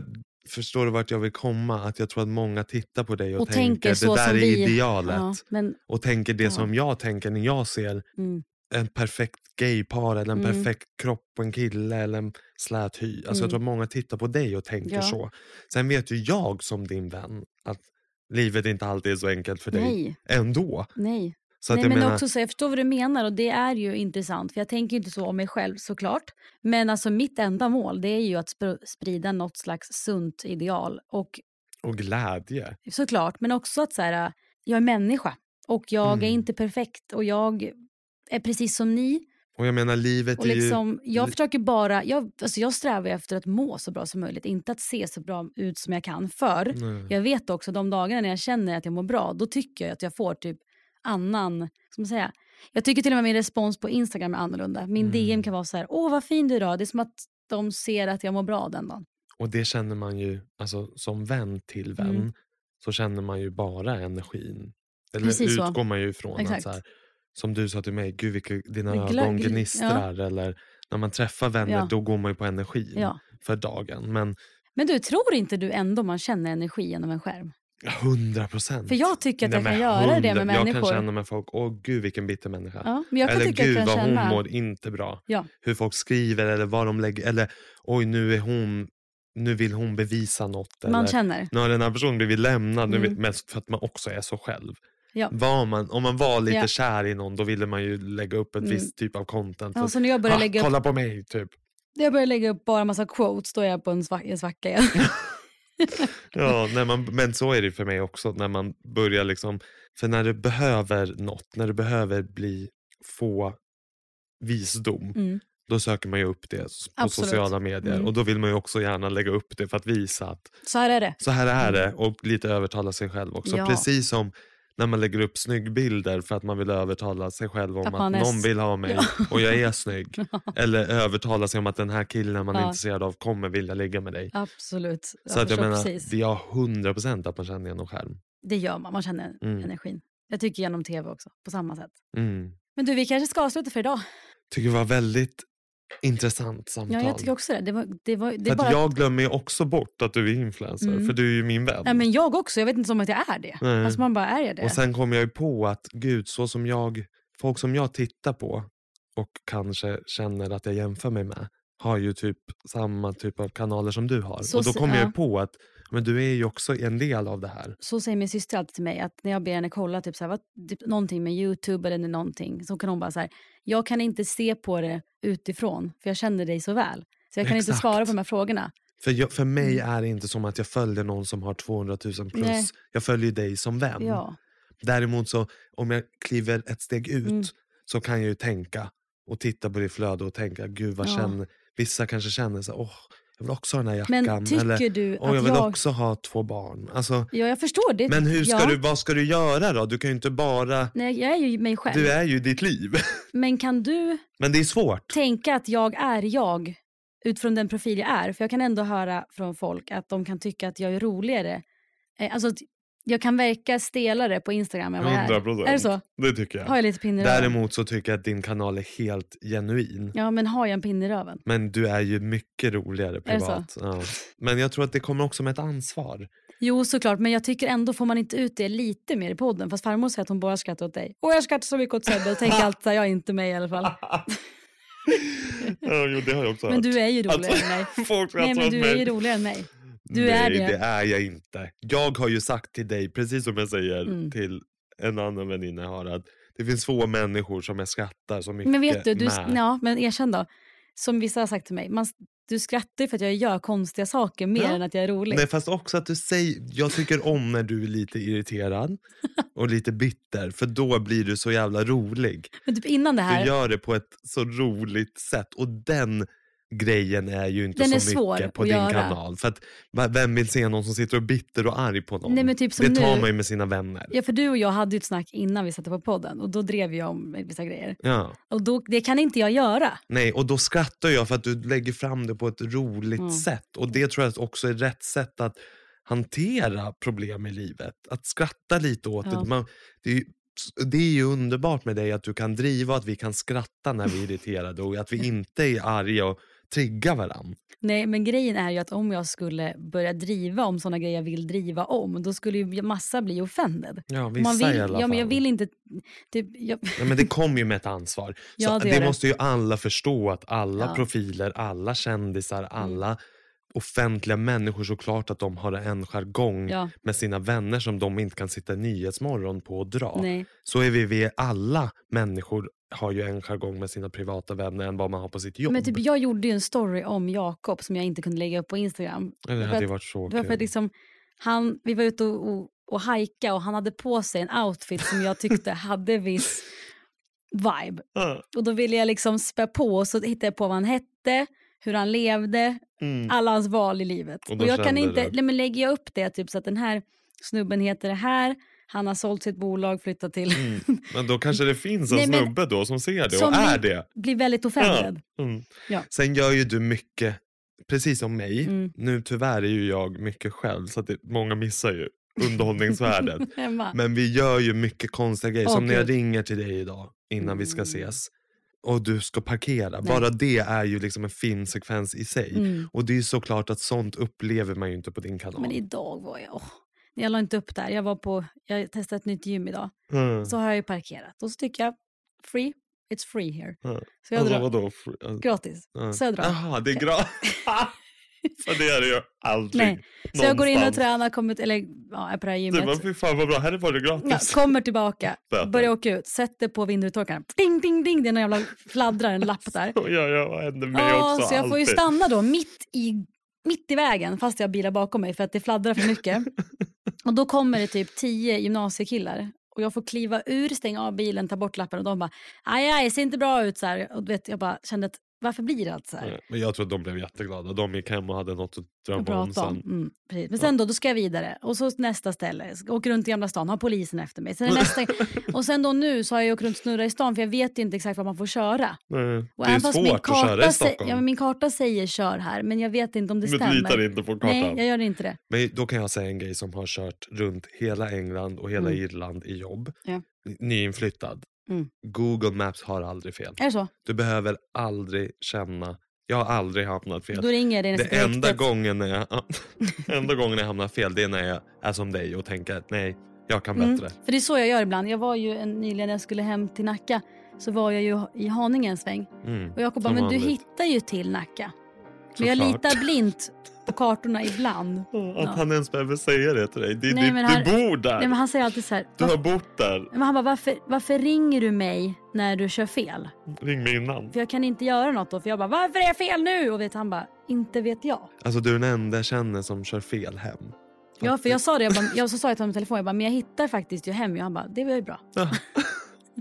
Speaker 2: förstår du vart jag vill komma? Att jag tror att många tittar på dig och,
Speaker 1: Och tänker
Speaker 2: det
Speaker 1: så
Speaker 2: där
Speaker 1: som
Speaker 2: är
Speaker 1: vi-
Speaker 2: idealet.
Speaker 1: ja, men
Speaker 2: Och tänker det som jag tänker när jag ser
Speaker 1: Mm.
Speaker 2: en perfekt gaypar eller en
Speaker 1: Mm.
Speaker 2: perfekt kropp på en kille eller en slät hy. Alltså
Speaker 1: Mm.
Speaker 2: jag tror att många tittar på dig och tänker
Speaker 1: Ja.
Speaker 2: så. Sen vet ju jag som din vän att livet inte alltid är så enkelt för dig
Speaker 1: Nej.
Speaker 2: ändå.
Speaker 1: nej.
Speaker 2: Så att
Speaker 1: Nej,
Speaker 2: jag
Speaker 1: men
Speaker 2: menar,
Speaker 1: också så, jag förstår vad du menar och det är ju intressant. För Jag tänker ju inte så om mig själv såklart. Men alltså mitt enda mål det är ju att spr- sprida något slags sunt ideal. Och
Speaker 2: och glädje.
Speaker 1: såklart, men också att så här, jag är människa och jag är
Speaker 2: Mm.
Speaker 1: inte perfekt och jag är precis som ni.
Speaker 2: Och jag menar livet
Speaker 1: Och
Speaker 2: är
Speaker 1: liksom,
Speaker 2: ju...
Speaker 1: jag försöker bara, jag, alltså jag strävar ju efter att må så bra som möjligt, inte att se så bra ut som jag kan. För
Speaker 2: Nej.
Speaker 1: jag vet också de dagarna när jag känner att jag mår bra, då tycker jag att jag får typ annan, ska man säga. Jag tycker till och med min respons på Instagram är annorlunda. Min
Speaker 2: Mm.
Speaker 1: DM kan vara så här, åh vad fin du är idag. Det är som att de ser att jag mår bra den dagen.
Speaker 2: Och det känner man ju, alltså som vän till vän,
Speaker 1: Mm.
Speaker 2: så känner man ju bara energin. Eller
Speaker 1: Precis så.
Speaker 2: utgår man ju ifrån
Speaker 1: Exakt.
Speaker 2: att så här, som du sa till mig, gud vilka dina
Speaker 1: Men gla-
Speaker 2: ögon
Speaker 1: gl-
Speaker 2: gnistrar. Eller när man träffar vänner,
Speaker 1: Ja.
Speaker 2: då går man ju på energin
Speaker 1: Ja.
Speaker 2: för dagen. Men
Speaker 1: Men du, tror inte du ändå man känner energi genom en skärm?
Speaker 2: 100 procent.
Speaker 1: För jag tycker att jag kan göra det med
Speaker 2: Jag kan
Speaker 1: människor.
Speaker 2: känna med folk, åh gud vilken bitter människa.
Speaker 1: Ja, men jag kan
Speaker 2: eller
Speaker 1: tycka
Speaker 2: gud
Speaker 1: att jag
Speaker 2: vad
Speaker 1: kan
Speaker 2: hon
Speaker 1: känna.
Speaker 2: mår inte bra.
Speaker 1: Ja.
Speaker 2: Hur folk skriver eller vad de lägger. Eller oj nu är hon, nu vill hon bevisa något.
Speaker 1: Man
Speaker 2: eller, Alltså,
Speaker 1: känner.
Speaker 2: nu har den här personen blivit lämnad, nu,
Speaker 1: Mm.
Speaker 2: mest för att man också är så själv.
Speaker 1: Ja.
Speaker 2: Var man, om man var lite
Speaker 1: Ja.
Speaker 2: kär i någon då ville man ju lägga upp ett
Speaker 1: Mm.
Speaker 2: visst typ av content.
Speaker 1: Ja,
Speaker 2: att,
Speaker 1: så när jag börjar
Speaker 2: "Ah,
Speaker 1: lägga upp-
Speaker 2: kolla på mig, typ.
Speaker 1: Jag börjar lägga upp bara massa quotes, då är jag på en svack- en svacka igen.
Speaker 2: Ja, när man, men så är det för mig också när man börjar liksom, för när du behöver något, när du behöver bli, få visdom,
Speaker 1: Mm.
Speaker 2: då söker man ju upp det s- på
Speaker 1: Absolut.
Speaker 2: sociala medier
Speaker 1: Mm.
Speaker 2: och då vill man ju också gärna lägga upp det för att visa att
Speaker 1: Så här är det.
Speaker 2: Så här är det och lite övertala sig själv också.
Speaker 1: Ja.
Speaker 2: Precis som när man lägger upp snyggbilder för att man vill övertala sig själv om
Speaker 1: Att
Speaker 2: att,
Speaker 1: man är
Speaker 2: någon
Speaker 1: s-
Speaker 2: vill ha mig och jag är snygg. Eller övertala sig om att den här killen man är
Speaker 1: Ja.
Speaker 2: intresserad av kommer vilja ligga med dig.
Speaker 1: Absolut. Jag
Speaker 2: Så att jag
Speaker 1: förstår
Speaker 2: menar,
Speaker 1: precis.
Speaker 2: det är jag 100% att man känner genom skärm.
Speaker 1: Det gör man, man känner
Speaker 2: Mm.
Speaker 1: energin. Jag tycker genom tv också, på samma sätt.
Speaker 2: Mm.
Speaker 1: Men du, vi kanske ska avsluta för idag.
Speaker 2: Tycker det var väldigt intressant samtal.
Speaker 1: Ja, jag tycker också det. det, var, det, var, det
Speaker 2: för
Speaker 1: är
Speaker 2: att
Speaker 1: bara... Mm.
Speaker 2: jag glömmer ju också bort att du är influencer för du är ju min vän.
Speaker 1: Ja, men jag också, jag vet inte som att jag är det.
Speaker 2: Nej.
Speaker 1: Alltså man bara, är jag det?
Speaker 2: Och sen kom jag ju på att gud, så som jag, folk som jag tittar på och kanske känner att jag jämför mig med har ju typ samma typ av kanaler som du har.
Speaker 1: Så
Speaker 2: och då
Speaker 1: se-
Speaker 2: kom jag
Speaker 1: ja.
Speaker 2: ju på att Men du är ju också en del av det här.
Speaker 1: Så säger min syster alltid till mig att när jag ber henne kolla typ så här, vad, typ någonting med Youtube eller någonting så kan hon bara så här, jag kan inte se på det utifrån för jag känner dig så väl. Så jag kan inte
Speaker 2: Exakt. Mm.
Speaker 1: svara på de här frågorna.
Speaker 2: För, jag, för mig är det inte som att jag följer någon som har 200 000 plus.
Speaker 1: Mm. Nej.
Speaker 2: Jag följer ju dig som vän.
Speaker 1: Ja.
Speaker 2: Däremot så om jag kliver ett steg ut
Speaker 1: Mm.
Speaker 2: så kan jag ju tänka och titta på det flöde och tänka, gud vad
Speaker 1: Ja.
Speaker 2: känner... Vissa kanske känner så här, åh, jag vill också ha den här jackan.
Speaker 1: Men tycker
Speaker 2: eller,
Speaker 1: du
Speaker 2: åh,
Speaker 1: att
Speaker 2: jag vill
Speaker 1: jag-
Speaker 2: också ha två barn. Alltså,
Speaker 1: ja, jag förstår det.
Speaker 2: men hur ska
Speaker 1: ja.
Speaker 2: du, vad ska du göra då? Du kan ju inte bara...
Speaker 1: Nej, jag är ju mig själv.
Speaker 2: Du är ju ditt liv.
Speaker 1: Men kan du
Speaker 2: men det är svårt.
Speaker 1: tänka att jag är jag utifrån den profil jag är? För jag kan ändå höra från folk att de kan tycka att jag är roligare. Eh, Alltså, att jag kan verka stelare på Instagram än vad jag är.
Speaker 2: 100%.
Speaker 1: Är det så?
Speaker 2: Det tycker jag.
Speaker 1: Har jag lite pinne i röven?
Speaker 2: Däremot så tycker jag att din kanal är helt genuin.
Speaker 1: Ja, men har jag en pinne i röven?
Speaker 2: Men du är ju mycket roligare
Speaker 1: det så?
Speaker 2: privat. Ja. Men jag tror att det kommer också med ett ansvar.
Speaker 1: Jo, såklart, men jag tycker ändå får man inte ut det lite mer i podden. Fast farmor säger att hon bara skrattar åt dig. Och jag skrattar så mycket åt Sebbe och tänker alltid så här, jag är inte mig i alla fall.
Speaker 2: Ja, jo, det har jag också
Speaker 1: Men du är ju roligare än mig.
Speaker 2: Folk
Speaker 1: Nej, men du är ju roligare än mig. Du är
Speaker 2: Nej,
Speaker 1: det.
Speaker 2: det är jag inte. Jag har ju sagt till dig, precis som jag säger
Speaker 1: Mm.
Speaker 2: till en annan väninna jag har, att det finns få människor som jag skrattar så mycket
Speaker 1: Men vet du, du
Speaker 2: med.
Speaker 1: ja, men erkänn då. Som vissa har sagt till mig, man, du skrattar ju för att jag gör konstiga saker mer
Speaker 2: Ja.
Speaker 1: än att jag är rolig.
Speaker 2: Nej, fast också att du säger, jag tycker om när du är lite irriterad och lite bitter, för då blir du så jävla rolig.
Speaker 1: Men typ innan det
Speaker 2: Du
Speaker 1: här,
Speaker 2: gör det på ett så roligt sätt. Och den grejen är ju inte
Speaker 1: Den
Speaker 2: så
Speaker 1: är svår
Speaker 2: mycket på
Speaker 1: att
Speaker 2: din
Speaker 1: göra.
Speaker 2: kanal. För att, va- vem vill se någon som sitter och är bitter och arg på någon?
Speaker 1: Nej, men typ som
Speaker 2: det tar
Speaker 1: nu.
Speaker 2: man ju med sina vänner.
Speaker 1: ja, för du och jag hade ju ett snack innan vi satte på podden och då drev jag om vissa grejer.
Speaker 2: Ja.
Speaker 1: Och då, det kan inte jag göra.
Speaker 2: Nej, och då skrattar jag för att du lägger fram det på ett roligt
Speaker 1: Mm.
Speaker 2: sätt. Och det tror jag också är rätt sätt att hantera problem i livet. Att skratta lite åt
Speaker 1: Ja.
Speaker 2: det. Man, det, är ju, det är ju underbart med dig att du kan driva, att vi kan skratta när vi är irriterade och att
Speaker 1: Mm.
Speaker 2: vi inte är arga och triggar varandra.
Speaker 1: Nej, men grejen är ju att om jag skulle börja driva om sådana grejer jag vill driva om, då skulle ju massa bli offended.
Speaker 2: Ja,
Speaker 1: Och
Speaker 2: vissa
Speaker 1: man vill,
Speaker 2: i alla
Speaker 1: ja, men jag
Speaker 2: fall. Mm.
Speaker 1: vill inte... Typ, jag,
Speaker 2: Ja, men det kommer ju med ett ansvar. Så
Speaker 1: Ja, det
Speaker 2: det
Speaker 1: gör det.
Speaker 2: måste ju alla förstå att alla
Speaker 1: Ja. Mm.
Speaker 2: profiler, alla kändisar, alla offentliga människor såklart att de har en jargong
Speaker 1: Ja.
Speaker 2: med sina vänner som de inte kan sitta i Nyhetsmorgon på och dra.
Speaker 1: Nej.
Speaker 2: Så är vi, vi alla människor har ju en jargong med sina privata vänner än vad man har på sitt jobb.
Speaker 1: men typ, jag gjorde ju en story om Jakob som jag inte kunde lägga upp på Instagram.
Speaker 2: Ja, det
Speaker 1: För
Speaker 2: hade ju
Speaker 1: att-
Speaker 2: varit så
Speaker 1: Det var för
Speaker 2: kul.
Speaker 1: att liksom, han, vi var ute och, och, och hajka och han hade på sig en outfit som jag tyckte hade viss vibe.
Speaker 2: Ah,
Speaker 1: Och då ville jag liksom spä på och så hittade jag på vad han hette, hur han levde, alla hans val i livet.
Speaker 2: Mm. Och
Speaker 1: Och,
Speaker 2: då
Speaker 1: jag kan
Speaker 2: kände
Speaker 1: inte,
Speaker 2: du?
Speaker 1: nej, men lägger jag upp det typ så att den här snubben heter det här, han har sålt sitt bolag, flyttat till,
Speaker 2: Mm. Men då kanske det finns en
Speaker 1: Nej, men-
Speaker 2: snubbe då som ser det
Speaker 1: Som
Speaker 2: och är
Speaker 1: vi-
Speaker 2: det.
Speaker 1: blir väldigt offended.
Speaker 2: Mm.
Speaker 1: Ja. Mm.
Speaker 2: Sen gör ju du mycket, precis som mig. Nu tyvärr är ju jag mycket själv så att det, många missar ju underhållningsvärdet.
Speaker 1: Hemma.
Speaker 2: Men vi gör ju mycket konstiga grejer.
Speaker 1: Åh,
Speaker 2: som när jag
Speaker 1: gud. Mm.
Speaker 2: ringer till dig idag innan vi ska ses och du ska parkera. Bara det är ju liksom en fin sekvens i sig. Och det är ju såklart att sånt upplever man ju inte på din kanal.
Speaker 1: Mm. Men idag var jag... Åh, jag la inte upp där. Jag, var på, jag testade ett nytt gym idag.
Speaker 2: Mm.
Speaker 1: Så har jag ju parkerat. Och så tycker jag, free, it's free here.
Speaker 2: Mm.
Speaker 1: Så jag
Speaker 2: Alltså,
Speaker 1: drar.
Speaker 2: vadå? Ah,
Speaker 1: Gratis. Så jag drar.
Speaker 2: Jaha, det är gratis. För det är det ju aldrig.
Speaker 1: Nej. Så jag går in och
Speaker 2: någonstans.
Speaker 1: tränar, kommer, eller ja, är på det här
Speaker 2: Du bara,
Speaker 1: gymmet.
Speaker 2: fy fan vad bra, här var det
Speaker 1: Ja,
Speaker 2: gratis.
Speaker 1: kommer tillbaka,
Speaker 2: Böter.
Speaker 1: börjar åka ut, sätter på vindrutetorkaren. Ding, ding, ding. Det är någon jävla fladdrar, en lapp där.
Speaker 2: Och jag, jag händer mig
Speaker 1: Ja,
Speaker 2: också
Speaker 1: så jag får ju
Speaker 2: alltid.
Speaker 1: stanna då mitt i, mitt i vägen fast jag har bilar bakom mig för att det fladdrar för mycket. och då kommer det typ tio gymnasiekillar och jag får kliva ur, stänga av bilen, ta bort lappen och de bara aj, aj, ser inte bra ut så här. Och du vet, jag bara kände att varför blir det allt så här?
Speaker 2: Nej, Men jag tror att de blev jätteglada. De gick hem och hade något att
Speaker 1: att
Speaker 2: drömma om
Speaker 1: prata om.
Speaker 2: sen.
Speaker 1: Mm, precis. Men sen då, då ska jag vidare. Och så nästa ställe. Ska- Åker runt i Gamla stan, har polisen efter mig. Sen är nästa... och sen då nu så har jag åkt runt och snurrat i stan för jag vet ju inte exakt vad man får köra.
Speaker 2: Nej,
Speaker 1: Och
Speaker 2: Det är
Speaker 1: även fast min
Speaker 2: svårt att köra i
Speaker 1: sä- ja, men
Speaker 2: Stockholm.
Speaker 1: min karta säger kör här, men jag vet inte om det
Speaker 2: Men du
Speaker 1: stämmer.
Speaker 2: litar inte på kartan?
Speaker 1: Nej, jag gör inte det.
Speaker 2: Men då kan jag säga en grej som har kört runt hela England och hela Irland i jobb.
Speaker 1: Mm. Ja.
Speaker 2: Nyinflyttad.
Speaker 1: Mm.
Speaker 2: Google Maps har aldrig fel.
Speaker 1: Är det så?
Speaker 2: Du behöver aldrig känna... Jag har aldrig hamnat fel.
Speaker 1: Då ringer jag dig
Speaker 2: Det
Speaker 1: nästan direkt
Speaker 2: enda
Speaker 1: att-
Speaker 2: gången, när jag, enda gången jag hamnar fel det är när jag är som dig och tänker att nej, jag kan
Speaker 1: Mm.
Speaker 2: bättre.
Speaker 1: För det är så jag gör ibland. Jag var ju en, nyligen när jag skulle hem till Nacka så var jag ju i Haninge en sväng.
Speaker 2: Mm.
Speaker 1: Och Jakob bara,
Speaker 2: Som
Speaker 1: men du
Speaker 2: vanligt.
Speaker 1: hittar ju till Nacka. Men jag
Speaker 2: Såklart.
Speaker 1: litar blint på kartorna ibland.
Speaker 2: Att han ens behöver säga det till dig. Det,
Speaker 1: Nej,
Speaker 2: det,
Speaker 1: men
Speaker 2: du
Speaker 1: han-
Speaker 2: bor där.
Speaker 1: Nej, men han säger alltid så här.
Speaker 2: Du har
Speaker 1: "Varför-
Speaker 2: bott där.
Speaker 1: Men han bara, varför, varför ringer du mig när du kör fel?
Speaker 2: Ring mig innan.
Speaker 1: För jag kan inte göra något då. För jag bara, varför är jag fel nu? Och vet han bara, inte vet jag.
Speaker 2: Alltså du är den enda jag känner som kör fel hem.
Speaker 1: Ja, för jag sa det. Jag, bara, jag så sa jag till honom i telefon, jag bara, men jag hittar faktiskt ju hem. Och han bara, det var ju bra.
Speaker 2: Ja.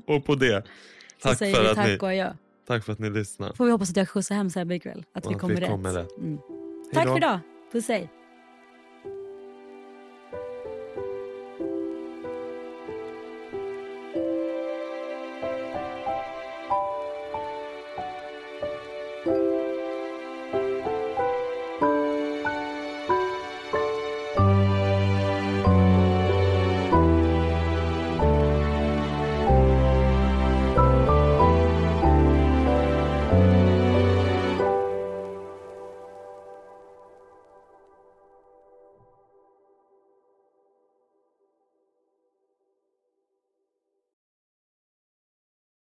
Speaker 2: Och på det.
Speaker 1: Så
Speaker 2: Tack
Speaker 1: säger
Speaker 2: för,
Speaker 1: vi
Speaker 2: att
Speaker 1: tack
Speaker 2: ni,
Speaker 1: och adjö.
Speaker 2: tack för att ni lyssnar.
Speaker 1: Får vi hoppas att jag skjutsar hem Sebbe ikväll. Att vi
Speaker 2: Ja,
Speaker 1: kommer
Speaker 2: vi
Speaker 1: rätt.
Speaker 2: kommer rätt.
Speaker 1: Mm. Tack
Speaker 2: då.
Speaker 1: för idag. Puss hej.